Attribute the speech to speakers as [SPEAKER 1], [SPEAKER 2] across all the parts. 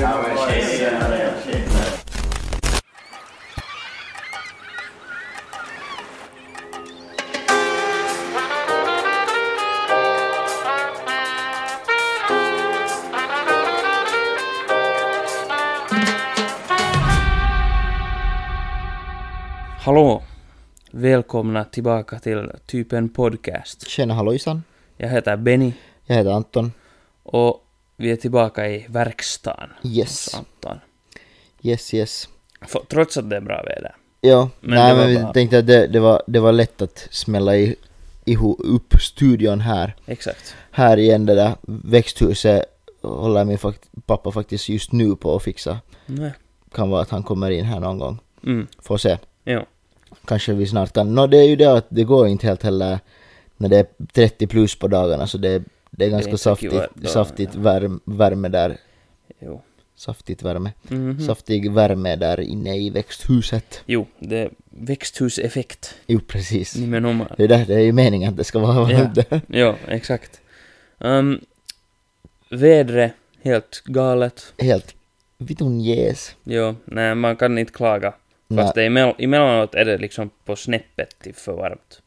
[SPEAKER 1] Ja, men tjenare, tjenare.
[SPEAKER 2] Hallå! Välkomna tillbaka till Typen Podcast.
[SPEAKER 3] Tjena hallojsan,
[SPEAKER 2] Jag heter Benny
[SPEAKER 3] jag heter Anton.
[SPEAKER 2] och vi är tillbaka i verkstaden.
[SPEAKER 3] Yes,
[SPEAKER 2] Anton.
[SPEAKER 3] yes, yes.
[SPEAKER 2] För, trots att det är bra väder.
[SPEAKER 3] Ja,
[SPEAKER 2] Men
[SPEAKER 3] nej
[SPEAKER 2] det var
[SPEAKER 3] men vi
[SPEAKER 2] bara-
[SPEAKER 3] tänkte att det, det, var, det var lätt att smälla i, ihop upp studion här.
[SPEAKER 2] Exakt.
[SPEAKER 3] Här igen det där växthuset håller min fakt- pappa faktiskt just nu på att fixa.
[SPEAKER 2] Nej.
[SPEAKER 3] Kan vara att han kommer in här någon gång.
[SPEAKER 2] Mm.
[SPEAKER 3] Får se.
[SPEAKER 2] Jo.
[SPEAKER 3] Kanske vi snart kan. Nå det är ju det att det går inte helt heller när det är 30 plus på dagarna så det, det är ganska
[SPEAKER 2] inte
[SPEAKER 3] saftigt,
[SPEAKER 2] kiva dagar,
[SPEAKER 3] saftigt värm, värme där.
[SPEAKER 2] Jo.
[SPEAKER 3] Saftigt värme.
[SPEAKER 2] Mhm.
[SPEAKER 3] Saftig värme där inne i växthuset.
[SPEAKER 2] Jo, det är växthuseffekt.
[SPEAKER 3] Jo, precis.
[SPEAKER 2] Nimenomaan.
[SPEAKER 3] Det är, där, det är ju meningen att det ska vara varmt där.
[SPEAKER 2] Jo, exakt. Um, vädret, helt galet.
[SPEAKER 3] Helt vitun jäs.
[SPEAKER 2] Jo, nej, man kan inte klaga. Fast det är emell- emellanåt är det liksom på snäppet till för varmt.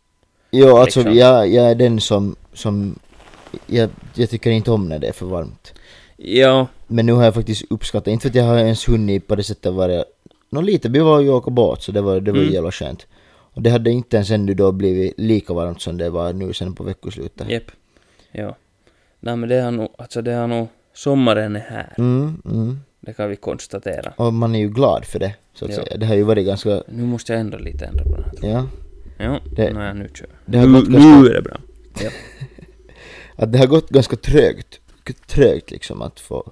[SPEAKER 3] Jo, alltså
[SPEAKER 2] liksom.
[SPEAKER 3] jag, jag är den som... som jag, jag tycker inte om när det är för varmt.
[SPEAKER 2] Jo,
[SPEAKER 3] Men nu har jag faktiskt uppskattat, inte för att jag har ens hunnit på det sättet vara... Nå lite, vi var ju och åka båt så det var, det var
[SPEAKER 2] Mm.
[SPEAKER 3] mm. jävla skönt. Och det hade inte ens ännu då blivit lika varmt som det var nu sen på veckoslutet.
[SPEAKER 2] Jep. Joo. Nej men det har nog, alltså det har nog, sommaren är här.
[SPEAKER 3] Mm, mm.
[SPEAKER 2] Det kan vi konstatera.
[SPEAKER 3] Och man är ju glad för det, så att
[SPEAKER 2] Ja.
[SPEAKER 3] säga. Det har ju varit ganska...
[SPEAKER 2] Nu måste jag ändra lite, ändra på den här.
[SPEAKER 3] Ja.
[SPEAKER 2] Jo,
[SPEAKER 3] Det-
[SPEAKER 2] nej nu kör jag.
[SPEAKER 3] det här
[SPEAKER 2] nu,
[SPEAKER 3] podcasten-
[SPEAKER 2] nu är det bra. Jep.
[SPEAKER 3] att det har gått ganska trögt, trögt liksom att få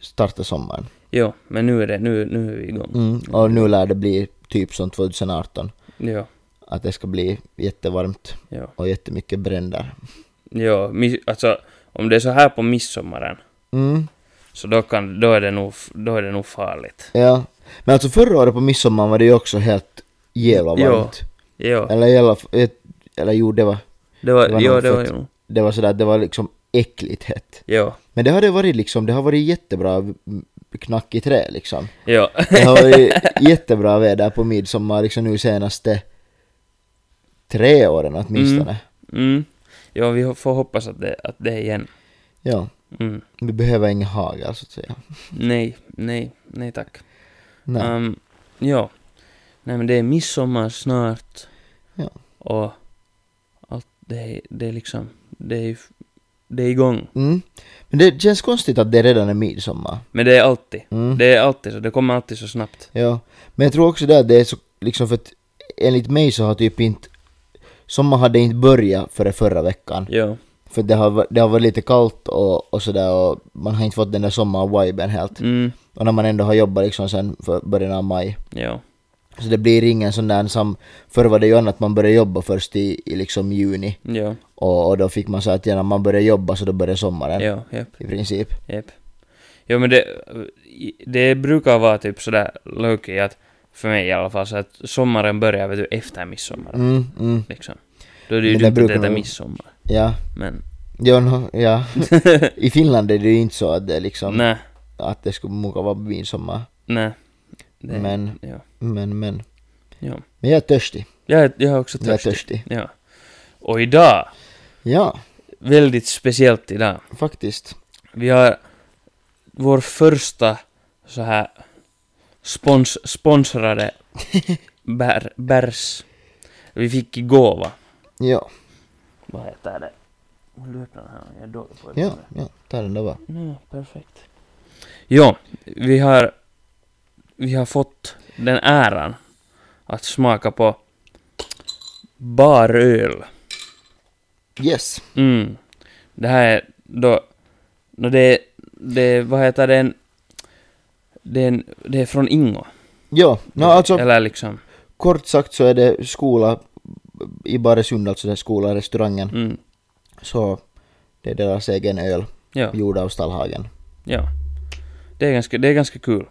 [SPEAKER 3] starta sommaren.
[SPEAKER 2] Jo, men nu är det, nu, nu är vi igång.
[SPEAKER 3] Mm. Och nu lär det bli typ som 2018,
[SPEAKER 2] Jo,
[SPEAKER 3] att det ska bli jättevarmt
[SPEAKER 2] jo.
[SPEAKER 3] och jättemycket bränder.
[SPEAKER 2] Jo, mi, alltså om det är så här på midsommaren,
[SPEAKER 3] Mm.
[SPEAKER 2] så då kan, då är det nog, då är det nog farligt.
[SPEAKER 3] Ja. Men alltså förra året på midsommar var det ju också helt jävla
[SPEAKER 2] Jo.
[SPEAKER 3] varmt.
[SPEAKER 2] Jo,
[SPEAKER 3] Eller i alla f- ett- eller jo det var,
[SPEAKER 2] det var,
[SPEAKER 3] det var
[SPEAKER 2] jo,
[SPEAKER 3] nog
[SPEAKER 2] det var
[SPEAKER 3] fett.
[SPEAKER 2] ju,
[SPEAKER 3] det var sådär, det var liksom äckligt hett.
[SPEAKER 2] jo,
[SPEAKER 3] Men det har det varit liksom, det har varit jättebra mm, knack i trä liksom.
[SPEAKER 2] jo,
[SPEAKER 3] Det har varit jättebra väder på midsommar liksom nu senaste tre åren åtminstone.
[SPEAKER 2] mm. Jo, vi får hoppas att det, att det är igen.
[SPEAKER 3] Ja,
[SPEAKER 2] Mm.
[SPEAKER 3] vi behöver ingen hagel så att säga.
[SPEAKER 2] Nej, nej, nej tack.
[SPEAKER 3] Nej.
[SPEAKER 2] Um, ja. Nej men det är midsommar snart.
[SPEAKER 3] Ja.
[SPEAKER 2] Och allt det är, det är liksom, det är, det är igång.
[SPEAKER 3] Mm. Men det känns konstigt att det redan är midsommar.
[SPEAKER 2] Men det är alltid,
[SPEAKER 3] Mm.
[SPEAKER 2] det är alltid så, det kommer alltid så snabbt.
[SPEAKER 3] Ja. Men jag tror också det att det är så, liksom för att enligt mig så har typ inte Sommar hade inte börjat före förra veckan.
[SPEAKER 2] Jo,
[SPEAKER 3] För det har, va- det har varit lite kallt och, och sådär och man har inte fått den där sommar-viben helt.
[SPEAKER 2] mm,
[SPEAKER 3] Och när man ändå har jobbat liksom sen för början av maj.
[SPEAKER 2] jo,
[SPEAKER 3] Så det blir ingen sån där sam... Förr var det ju annat, man började jobba först i, i liksom juni.
[SPEAKER 2] jo,
[SPEAKER 3] Och, och då fick man så att genom man började jobba så då började sommaren.
[SPEAKER 2] jo, japp,
[SPEAKER 3] I princip.
[SPEAKER 2] japp. Jo men det, det brukar vara typ sådär lowkey att, för mig i alla fall, så att sommaren börjar vet du efter midsommar.
[SPEAKER 3] Mm, mm,
[SPEAKER 2] Liksom. Då är det ju
[SPEAKER 3] Men det
[SPEAKER 2] dumt att
[SPEAKER 3] brukar
[SPEAKER 2] äta
[SPEAKER 3] nog-
[SPEAKER 2] midsommar.
[SPEAKER 3] ja.
[SPEAKER 2] Men,
[SPEAKER 3] Jo, no, ja. I Finland är det ju inte så att det liksom...
[SPEAKER 2] nej,
[SPEAKER 3] Att det skulle muka vara midsommar.
[SPEAKER 2] nej. Det-
[SPEAKER 3] Men,
[SPEAKER 2] Ja,
[SPEAKER 3] men, men.
[SPEAKER 2] ja.
[SPEAKER 3] Men jag är törstig.
[SPEAKER 2] Jag är, jag är också
[SPEAKER 3] Jag är
[SPEAKER 2] törstig.
[SPEAKER 3] törstig.
[SPEAKER 2] Ja. Och idag,
[SPEAKER 3] Ja,
[SPEAKER 2] väldigt speciellt idag.
[SPEAKER 3] faktiskt.
[SPEAKER 2] Vi har vår första så här spons, sponsrade bär, bärs. Vi fick i gåva.
[SPEAKER 3] Ja,
[SPEAKER 2] Vad heter det? Vill du öppna den här? Jag är dålig på det.
[SPEAKER 3] ja, ja. Ta den där bara.
[SPEAKER 2] Ja, perfekt. Ja, vi har, vi har fått den äran att smaka på baröl.
[SPEAKER 3] Yes.
[SPEAKER 2] Mm. Det här är då... No, det är... Det är, vad heter den? Det är, en, det är från Ingo.
[SPEAKER 3] Ja, no, alltså
[SPEAKER 2] Eller liksom...
[SPEAKER 3] kort sagt så är det skola i Baresund, alltså den skola restaurangen.
[SPEAKER 2] Mm.
[SPEAKER 3] Så det är deras egen öl,
[SPEAKER 2] Ja,
[SPEAKER 3] gjord av Stallhagen.
[SPEAKER 2] ja. Det är ganska, det är ganska kul.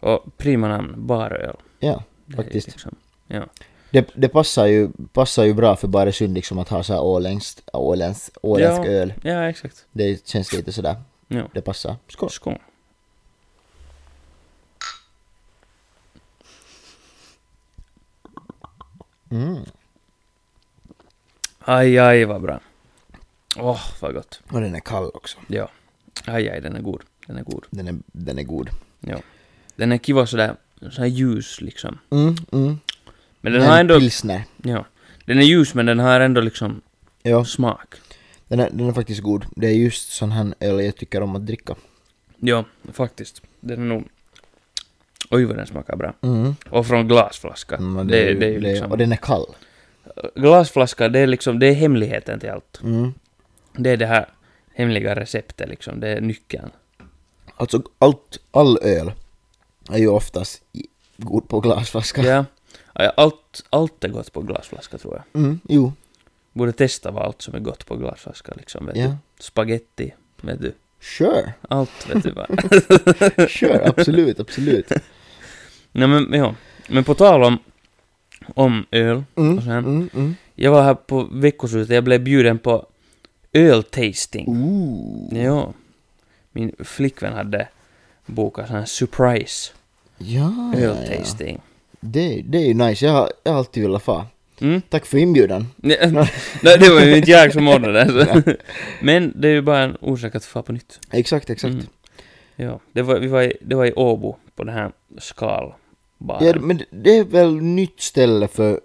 [SPEAKER 2] Och prima namn, baröl.
[SPEAKER 3] Ja,
[SPEAKER 2] Det är
[SPEAKER 3] faktiskt.
[SPEAKER 2] Liksom, ja.
[SPEAKER 3] Det, det passar, ju, passar ju bra för Baresund liksom att ha så här åländskt, åländsk, åländsk
[SPEAKER 2] ja,
[SPEAKER 3] öl.
[SPEAKER 2] Ja, exakt.
[SPEAKER 3] Det känns lite sådär.
[SPEAKER 2] Ja.
[SPEAKER 3] Det passar. Skål.
[SPEAKER 2] Skål. Mm. Aj, aj, vad bra. Åh, vad gott.
[SPEAKER 3] Och den är kall också.
[SPEAKER 2] Ja. Aj, aj, den är god. Den är god.
[SPEAKER 3] Den är, den är god.
[SPEAKER 2] Ja. Den är kiva sådär, sådär ljus liksom.
[SPEAKER 3] Mm, mm.
[SPEAKER 2] Men den har
[SPEAKER 3] är
[SPEAKER 2] ändå...
[SPEAKER 3] pilsner.
[SPEAKER 2] Ja. Den är ljus men den har ändå liksom
[SPEAKER 3] Ja,
[SPEAKER 2] smak.
[SPEAKER 3] den är, den är faktiskt god. Det är just sån här öl jag tycker om att dricka.
[SPEAKER 2] Ja, faktiskt. Den är nog... Oj vad den smakar bra.
[SPEAKER 3] Mm.
[SPEAKER 2] Och från glasflaska.
[SPEAKER 3] Mm, och
[SPEAKER 2] det, det, är ju
[SPEAKER 3] det-
[SPEAKER 2] liksom...
[SPEAKER 3] Och den är kall.
[SPEAKER 2] Glasflaska, det är liksom, det är hemligheten till allt.
[SPEAKER 3] Mm.
[SPEAKER 2] Det är det här hemliga receptet liksom, det är nyckeln.
[SPEAKER 3] Alltså allt, all öl är ju oftast i- god på glasflaska.
[SPEAKER 2] Ja. Ja, Allt, allt är gott på glasflaska tror jag.
[SPEAKER 3] Mm, jo.
[SPEAKER 2] Borde testa vad allt som är gott på glasflaska liksom, vet
[SPEAKER 3] Ja.
[SPEAKER 2] du. Spaghetti, vet du.
[SPEAKER 3] Sure,
[SPEAKER 2] Allt vet du vad.
[SPEAKER 3] sure, absolut, absolut.
[SPEAKER 2] Nej men ja, men på tal om, om öl
[SPEAKER 3] Mm,
[SPEAKER 2] och sen,
[SPEAKER 3] mm, mm.
[SPEAKER 2] Jag var här på veckoslutet, jag blev bjuden på öltasting.
[SPEAKER 3] Oh. Ooh.
[SPEAKER 2] Ja. Min flickvän hade bokat sån här surprise
[SPEAKER 3] Ja, ja, ja.
[SPEAKER 2] öltasting.
[SPEAKER 3] Det, det är ju nice, jag har, jag har alltid velat få.
[SPEAKER 2] Mm.
[SPEAKER 3] Tack för inbjudan.
[SPEAKER 2] Nej, nej, det var ju inte jag som ordnade det. så. Men det är ju bara en orsak att få på nytt.
[SPEAKER 3] Exakt, exakt.
[SPEAKER 2] Mm. Ja, det var, vi var, i, det var i Åbo på den här skalbaren.
[SPEAKER 3] Ja, men det är väl nytt ställe för,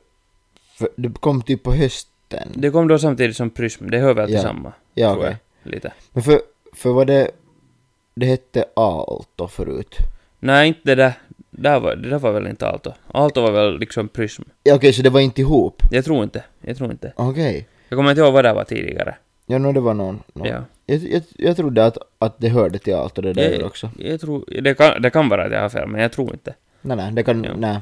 [SPEAKER 3] för det kom typ på hösten.
[SPEAKER 2] Det kom då samtidigt som Prysm, det hör väl till
[SPEAKER 3] Ja.
[SPEAKER 2] samma?
[SPEAKER 3] Ja,
[SPEAKER 2] tror
[SPEAKER 3] okej.
[SPEAKER 2] jag, Lite.
[SPEAKER 3] Men för, för vad det, det hette Aalt då förut.
[SPEAKER 2] Nej, inte det där. där var, det där var väl inte Aalto. Aalto var väl liksom Prysm.
[SPEAKER 3] Ja, okej, så det var inte ihop?
[SPEAKER 2] Jag tror inte, jag tror inte.
[SPEAKER 3] Okej.
[SPEAKER 2] Jag kommer inte ihåg vad det var tidigare.
[SPEAKER 3] Ja, no, det var någon. någon.
[SPEAKER 2] Ja.
[SPEAKER 3] Jag, jag, jag trodde att, att det hörde till allt och det där
[SPEAKER 2] jag,
[SPEAKER 3] också.
[SPEAKER 2] Jag tror, det, kan, det kan vara att jag har fel, men jag tror inte.
[SPEAKER 3] Nej, nej, det kan...
[SPEAKER 2] Ja.
[SPEAKER 3] Nej.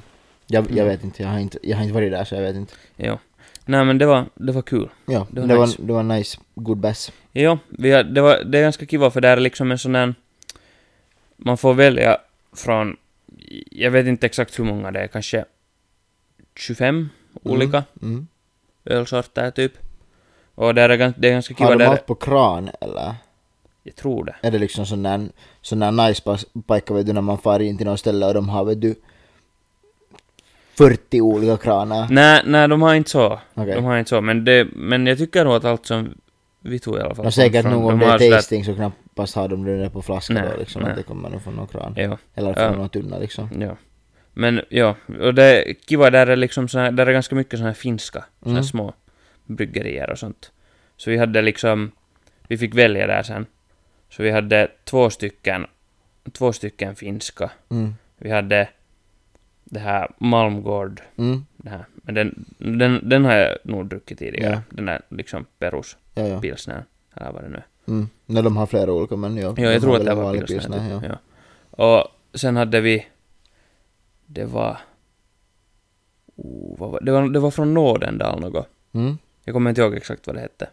[SPEAKER 3] Jag, jag
[SPEAKER 2] Mm.
[SPEAKER 3] vet inte, jag har inte, jag har inte varit där så jag vet inte.
[SPEAKER 2] Jo. Nej men det var, det var kul.
[SPEAKER 3] Ja,
[SPEAKER 2] Det
[SPEAKER 3] det
[SPEAKER 2] var
[SPEAKER 3] var,
[SPEAKER 2] nice.
[SPEAKER 3] det var nice, good bass.
[SPEAKER 2] Jo, vi har, det, var, det är ganska kiva för det är liksom en sån här... Man får välja från... Jag vet inte exakt hur många det är, kanske 25 olika
[SPEAKER 3] Mm.
[SPEAKER 2] ölsorter typ. Och där är, gans- det är ganska kiva
[SPEAKER 3] Har de
[SPEAKER 2] där...
[SPEAKER 3] allt på kran eller?
[SPEAKER 2] Jag tror det.
[SPEAKER 3] Är det liksom sån där, sån där nice pass- pajka vet du när man far in till något ställe och de har vet du 40 olika kranar?
[SPEAKER 2] Nej, nej, de har inte så.
[SPEAKER 3] Okej.
[SPEAKER 2] De har inte så, men, det, men jag tycker nog att allt som vi tog i alla fall... kom
[SPEAKER 3] Nå säkert
[SPEAKER 2] från-
[SPEAKER 3] nog
[SPEAKER 2] de
[SPEAKER 3] om det
[SPEAKER 2] har
[SPEAKER 3] är
[SPEAKER 2] sådär-
[SPEAKER 3] tasting så knappast har de det där på flaska
[SPEAKER 2] Nej,
[SPEAKER 3] då liksom
[SPEAKER 2] nej.
[SPEAKER 3] att det kommer nog från någon kran.
[SPEAKER 2] Jo.
[SPEAKER 3] Eller från
[SPEAKER 2] Ja.
[SPEAKER 3] någon tunna liksom.
[SPEAKER 2] Ja. Men ja, och det kiva där är liksom så här, där är ganska mycket såna här finska, såna
[SPEAKER 3] Mm.
[SPEAKER 2] här små bryggerier och sånt. Så vi hade liksom, vi fick välja där sen. Så vi hade två stycken, två stycken finska.
[SPEAKER 3] Mm.
[SPEAKER 2] Vi hade det här Malmgård,
[SPEAKER 3] Mm.
[SPEAKER 2] det här. Men den, den, den har jag nog druckit tidigare.
[SPEAKER 3] Ja.
[SPEAKER 2] Den där liksom Perus
[SPEAKER 3] Ja, ja.
[SPEAKER 2] pilsnern, eller vad det nu är.
[SPEAKER 3] Mm. Nej, de har flera olika men ja.
[SPEAKER 2] Ja, jag
[SPEAKER 3] de
[SPEAKER 2] tror
[SPEAKER 3] har
[SPEAKER 2] att
[SPEAKER 3] väl
[SPEAKER 2] det
[SPEAKER 3] en
[SPEAKER 2] var
[SPEAKER 3] vanlig
[SPEAKER 2] pilsner.
[SPEAKER 3] ja.
[SPEAKER 2] typ, ja. Och sen hade vi... Det var... Oh, vad var, det, var, det var från Nådendal något.
[SPEAKER 3] Mm.
[SPEAKER 2] Jag kommer inte ihåg exakt vad det hette.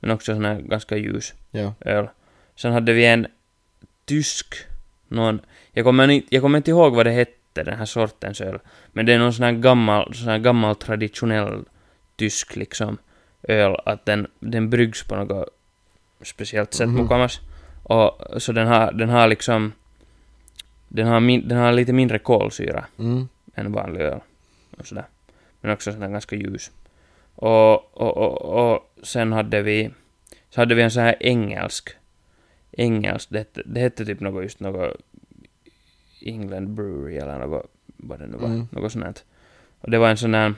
[SPEAKER 2] Men också sån här ganska ljus
[SPEAKER 3] Ja.
[SPEAKER 2] öl. Sen hade vi en tysk... Någon, jag, kommer inte, jag kommer inte ihåg vad det hette, den här sortens öl. Men det är någon sån här gammal, sån här gammal traditionell tysk liksom öl. Att den, den bryggs på något speciellt sätt
[SPEAKER 3] Mhm.
[SPEAKER 2] mukamas. Och så den har, den har liksom... Den har, min, den har lite mindre kolsyra
[SPEAKER 3] Mm.
[SPEAKER 2] än vanlig öl. Och sådär. Men också sån här ganska ljus. Och, och, och, och sen hade vi, så hade vi en sån här engelsk, engelsk, det hette, det hette typ något just något England Brewery eller något, vad det nu var,
[SPEAKER 3] Mm.
[SPEAKER 2] något sånt här. Och det var en sån här,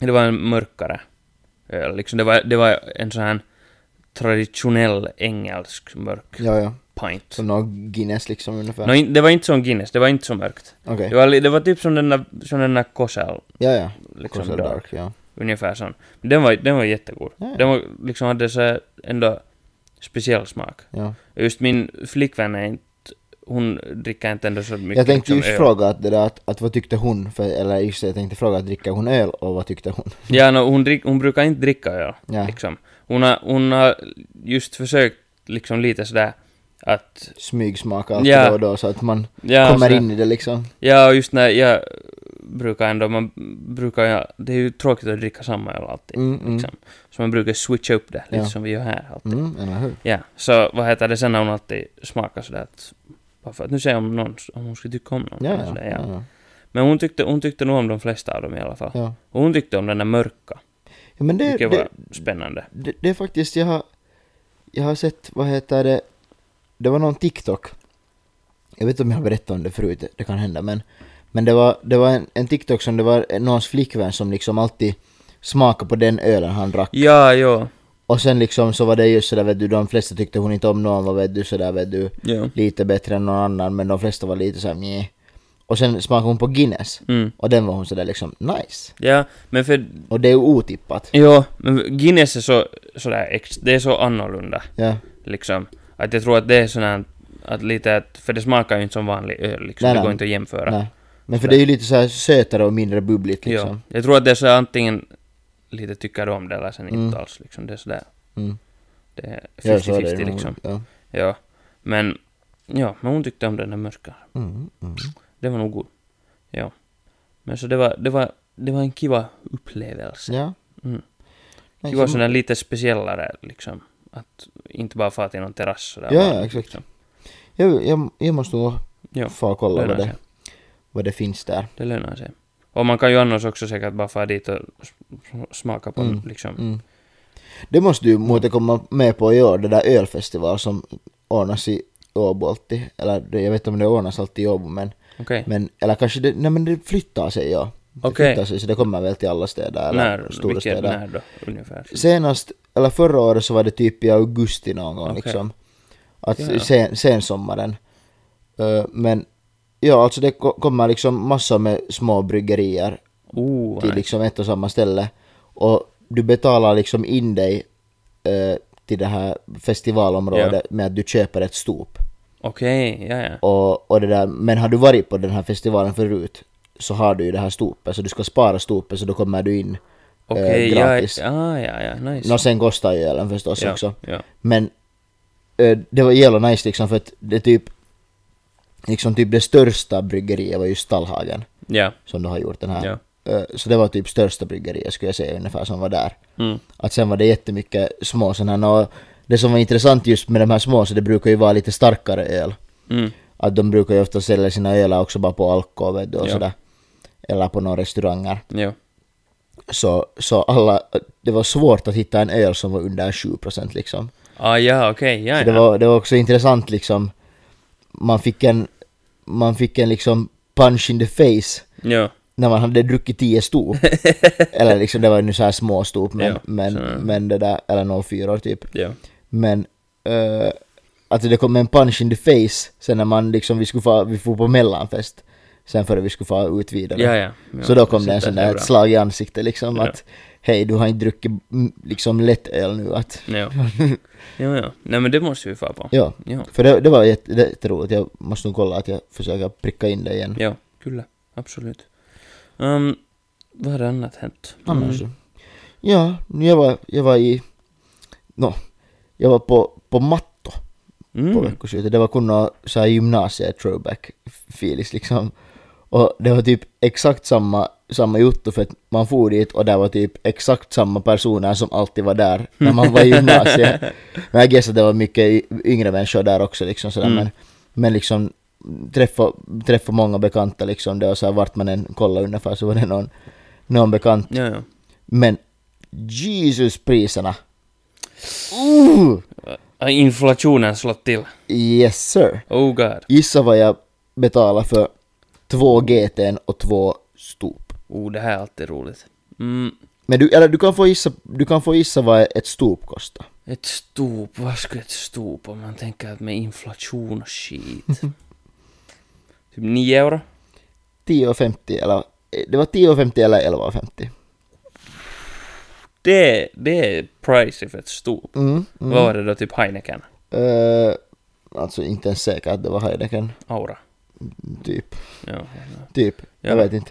[SPEAKER 2] det var en mörkare öl, liksom det var, det var en sån här traditionell engelsk mörk
[SPEAKER 3] Ja, ja.
[SPEAKER 2] pint.
[SPEAKER 3] Som någon Guinness liksom ungefär.
[SPEAKER 2] No, in, det var inte som Guinness, det var inte så mörkt.
[SPEAKER 3] Okej.
[SPEAKER 2] Det var, li- det var typ som den där, som den där Kosel
[SPEAKER 3] Ja, ja.
[SPEAKER 2] liksom
[SPEAKER 3] Korsel
[SPEAKER 2] dark.
[SPEAKER 3] Dark, ja.
[SPEAKER 2] Ungefär sån. Men den var, den var jättegod.
[SPEAKER 3] Ja, ja.
[SPEAKER 2] Den var, liksom hade så här ändå speciell smak.
[SPEAKER 3] ja.
[SPEAKER 2] Och Just min flickvän är inte, hon dricker inte ändå så mycket
[SPEAKER 3] Jag tänkte
[SPEAKER 2] liksom,
[SPEAKER 3] just
[SPEAKER 2] öl.
[SPEAKER 3] fråga att det där att, att vad tyckte hon? För, eller just det, jag tänkte fråga att dricker hon öl och vad tyckte hon?
[SPEAKER 2] Ja, no, hon, drick, hon brukar inte dricka öl.
[SPEAKER 3] Ja.
[SPEAKER 2] Liksom. Hon, har, hon har just försökt liksom lite sådär att...
[SPEAKER 3] Smygsmaka allt
[SPEAKER 2] Ja.
[SPEAKER 3] då och då så att man
[SPEAKER 2] Ja,
[SPEAKER 3] kommer
[SPEAKER 2] sådär.
[SPEAKER 3] in i det liksom.
[SPEAKER 2] Ja, och just när jag brukar ändå, man brukar ju, det är ju tråkigt att dricka samma öl alltid.
[SPEAKER 3] Mm, mm.
[SPEAKER 2] Liksom. Så man brukar switcha upp det, lite
[SPEAKER 3] Ja.
[SPEAKER 2] som vi gör här alltid.
[SPEAKER 3] Mm, eller hur?
[SPEAKER 2] Ja, så vad heter det sen när hon alltid smakar sådär att, bara för att nu ser jag om någon, om hon skulle tycka om någon.
[SPEAKER 3] Ja,
[SPEAKER 2] eller
[SPEAKER 3] ja,
[SPEAKER 2] sådär, ja.
[SPEAKER 3] ja,
[SPEAKER 2] Men hon tyckte, hon tyckte nog om de flesta av dem i alla fall.
[SPEAKER 3] ja.
[SPEAKER 2] Och hon tyckte om den där mörka,
[SPEAKER 3] ja men det,
[SPEAKER 2] vilket
[SPEAKER 3] det,
[SPEAKER 2] var spännande.
[SPEAKER 3] det, det är faktiskt, jag har, jag har sett, vad heter det, det var någon TikTok. Jag vet inte om jag har berättat om det förut, det kan hända, men, men det var, det var en, en TikTok som det var någons flickvän som liksom alltid smakade på den ölen han drack.
[SPEAKER 2] Ja, jo.
[SPEAKER 3] Och sen liksom så var det just sådär vet du, de flesta tyckte hon inte om någon var vet du sådär vet du
[SPEAKER 2] Ja.
[SPEAKER 3] lite bättre än någon annan men de flesta var lite såhär meh. Och sen smakade hon på Guinness
[SPEAKER 2] Mm.
[SPEAKER 3] och den var hon sådär liksom nice.
[SPEAKER 2] Ja, men för...
[SPEAKER 3] Och det är ju otippat.
[SPEAKER 2] Ja, men Guinness är så, sådär, ex- det är så annorlunda.
[SPEAKER 3] Ja,
[SPEAKER 2] liksom. Att jag tror att det är sån här, att lite att, för det smakar ju inte som vanlig öl liksom,
[SPEAKER 3] Nej,
[SPEAKER 2] det
[SPEAKER 3] nej.
[SPEAKER 2] går inte att jämföra.
[SPEAKER 3] nej. Men för det är ju lite såhär sötare och mindre bubbligt
[SPEAKER 2] ja.
[SPEAKER 3] liksom.
[SPEAKER 2] Jag tror att det är så här, antingen lite tycker du om det eller sen inte alls liksom, det är sådär,
[SPEAKER 3] Mm.
[SPEAKER 2] det är
[SPEAKER 3] Ja, så är det
[SPEAKER 2] 50-50
[SPEAKER 3] ju.
[SPEAKER 2] liksom.
[SPEAKER 3] Ja.
[SPEAKER 2] Ja. Men, ja, men hon tyckte om den där mörka.
[SPEAKER 3] Mm, mm.
[SPEAKER 2] Det var nog god. Ja. Men så det var, det var, det var en kiva upplevelse.
[SPEAKER 3] Ja.
[SPEAKER 2] Mm.
[SPEAKER 3] Nej,
[SPEAKER 2] Kiva
[SPEAKER 3] så-
[SPEAKER 2] sådär lite speciellare liksom. Att inte bara fara till någon terrass sådär.
[SPEAKER 3] Ja,
[SPEAKER 2] bara,
[SPEAKER 3] ja, exakt.
[SPEAKER 2] liksom.
[SPEAKER 3] jag, jag, jag måste nog
[SPEAKER 2] Ja.
[SPEAKER 3] få kolla vad
[SPEAKER 2] lönar sig.
[SPEAKER 3] det, vad det finns där.
[SPEAKER 2] Det lönar sig. Och man kan ju annars också säkert bara fara dit och s- s- smaka på
[SPEAKER 3] Mm.
[SPEAKER 2] liksom.
[SPEAKER 3] Mm. Det måste ju måste komma med på i år, det där ölfestival som ordnas i Åbo alltid. Eller det- jag vet inte om det ordnas alltid i Åbo men,
[SPEAKER 2] Okej.
[SPEAKER 3] men eller kanske det, nej men det flyttar sig ja. Det
[SPEAKER 2] Okej.
[SPEAKER 3] flyttar sig så det kommer väl till alla städer eller
[SPEAKER 2] När,
[SPEAKER 3] stora
[SPEAKER 2] vilket,
[SPEAKER 3] städer.
[SPEAKER 2] när då ungefär?
[SPEAKER 3] Senast, eller förra året så var det typ i augusti någon gång
[SPEAKER 2] Okej.
[SPEAKER 3] liksom. Att
[SPEAKER 2] Ja, ja.
[SPEAKER 3] sen, sensommaren. Uh, men ja alltså det ko- kommer liksom massor med små bryggerier
[SPEAKER 2] Oh, vad
[SPEAKER 3] till
[SPEAKER 2] nice.
[SPEAKER 3] liksom ett och samma ställe. Och du betalar liksom in dig eh, till det här festivalområdet
[SPEAKER 2] Ja.
[SPEAKER 3] med att du köper ett stop.
[SPEAKER 2] Okej, ja ja.
[SPEAKER 3] Och, och det där, men har du varit på den här festivalen förut så har du ju det här stopet, så du ska spara stopet så då kommer du in
[SPEAKER 2] Okej,
[SPEAKER 3] eh, gratis.
[SPEAKER 2] ja, ah, ja, ja, nice.
[SPEAKER 3] Nå sen kostar ju ölen förstås
[SPEAKER 2] ja,
[SPEAKER 3] också.
[SPEAKER 2] Ja.
[SPEAKER 3] Men eh, det var jävla nice liksom för att det typ liksom typ det största bryggeriet var ju Stallhagen
[SPEAKER 2] ja.
[SPEAKER 3] som du har gjort den här.
[SPEAKER 2] Ja.
[SPEAKER 3] Eh, Så det var typ största bryggeriet skulle jag säga ungefär som var där.
[SPEAKER 2] Mm.
[SPEAKER 3] Att sen var det jättemycket små sådana här, och det som var intressant just med de här små så det brukar ju vara lite starkare öl.
[SPEAKER 2] Mm.
[SPEAKER 3] Att de brukar ju ofta sälja sina ölar också bara på alkohol vet du, och
[SPEAKER 2] Ja.
[SPEAKER 3] sådär. Eller på några restauranger.
[SPEAKER 2] Ja.
[SPEAKER 3] Så, så alla, det var svårt att hitta en öl som var under 7% liksom.
[SPEAKER 2] Ah, ja, okej, ja,
[SPEAKER 3] Så
[SPEAKER 2] ja.
[SPEAKER 3] det var, det var också intressant liksom. Man fick en, man fick en liksom punch in the face
[SPEAKER 2] ja.
[SPEAKER 3] när man hade druckit 10 stop. eller liksom det var ju nu så här små stop men,
[SPEAKER 2] Ja,
[SPEAKER 3] men,
[SPEAKER 2] så-
[SPEAKER 3] men det där, eller 04 typ.
[SPEAKER 2] Ja.
[SPEAKER 3] Men eh, alltså det kom en punch in the face sen när man liksom, vi skulle få, vi får på mellanfest. Sen före vi skulle få ut vidare.
[SPEAKER 2] Ja, ja, ja.
[SPEAKER 3] Så då kom det en
[SPEAKER 2] Sitter
[SPEAKER 3] sån där
[SPEAKER 2] bra.
[SPEAKER 3] ett slag i ansiktet liksom
[SPEAKER 2] Ja.
[SPEAKER 3] att hej du har inte druckit mm, liksom lätt öl nu att
[SPEAKER 2] Ja. ja, ja. Nej men det måste vi fara på.
[SPEAKER 3] ja.
[SPEAKER 2] Ja.
[SPEAKER 3] För det, det var jätte- jätteroligt, jag måste nog kolla att jag försöker pricka in det igen.
[SPEAKER 2] Ja, kyllä. Absolut. Um, vad har annat hänt? Mm.
[SPEAKER 3] Annars så. Ja, nu jag var, jag var i, no, jag var på, på matto på
[SPEAKER 2] Mm.
[SPEAKER 3] veckoslutet. Det var kun nå så här gymnasiet throwback feelings liksom. Och det var typ exakt samma, samma jotto för att man for dit och där var typ exakt samma personer som alltid var där när man var i gymnasiet. men jag gissar att det var mycket y- yngre människor där också liksom sådär men, men liksom träffa, träffa många bekanta liksom. Det var så här vart man än kollade ungefär så var det någon, någon bekant.
[SPEAKER 2] Ja, ja.
[SPEAKER 3] Men Jesuspriserna! Uh!
[SPEAKER 2] Ah, Inflationen slått till.
[SPEAKER 3] Yes sir!
[SPEAKER 2] Oh god.
[SPEAKER 3] Gissa vad jag betalar för två GT'n och två stop.
[SPEAKER 2] Oh, det här är alltid roligt. Mm,
[SPEAKER 3] Men du, eller du kan få gissa, du kan få gissa vad ett stop kostar.
[SPEAKER 2] ett stop, vad skulle ett stop om man tänker att med inflation och skit? typ 9 euro?
[SPEAKER 3] 10,50 eller det var 10,50 eller 11,50.
[SPEAKER 2] Det, det är pricey för ett stop.
[SPEAKER 3] Mm, mm.
[SPEAKER 2] Vad var det då, typ Heineken?
[SPEAKER 3] Eh, alltså inte ens säker att det var Heideken.
[SPEAKER 2] Aura?
[SPEAKER 3] Typ.
[SPEAKER 2] Ja.
[SPEAKER 3] Typ.
[SPEAKER 2] Ja.
[SPEAKER 3] Jag vet inte.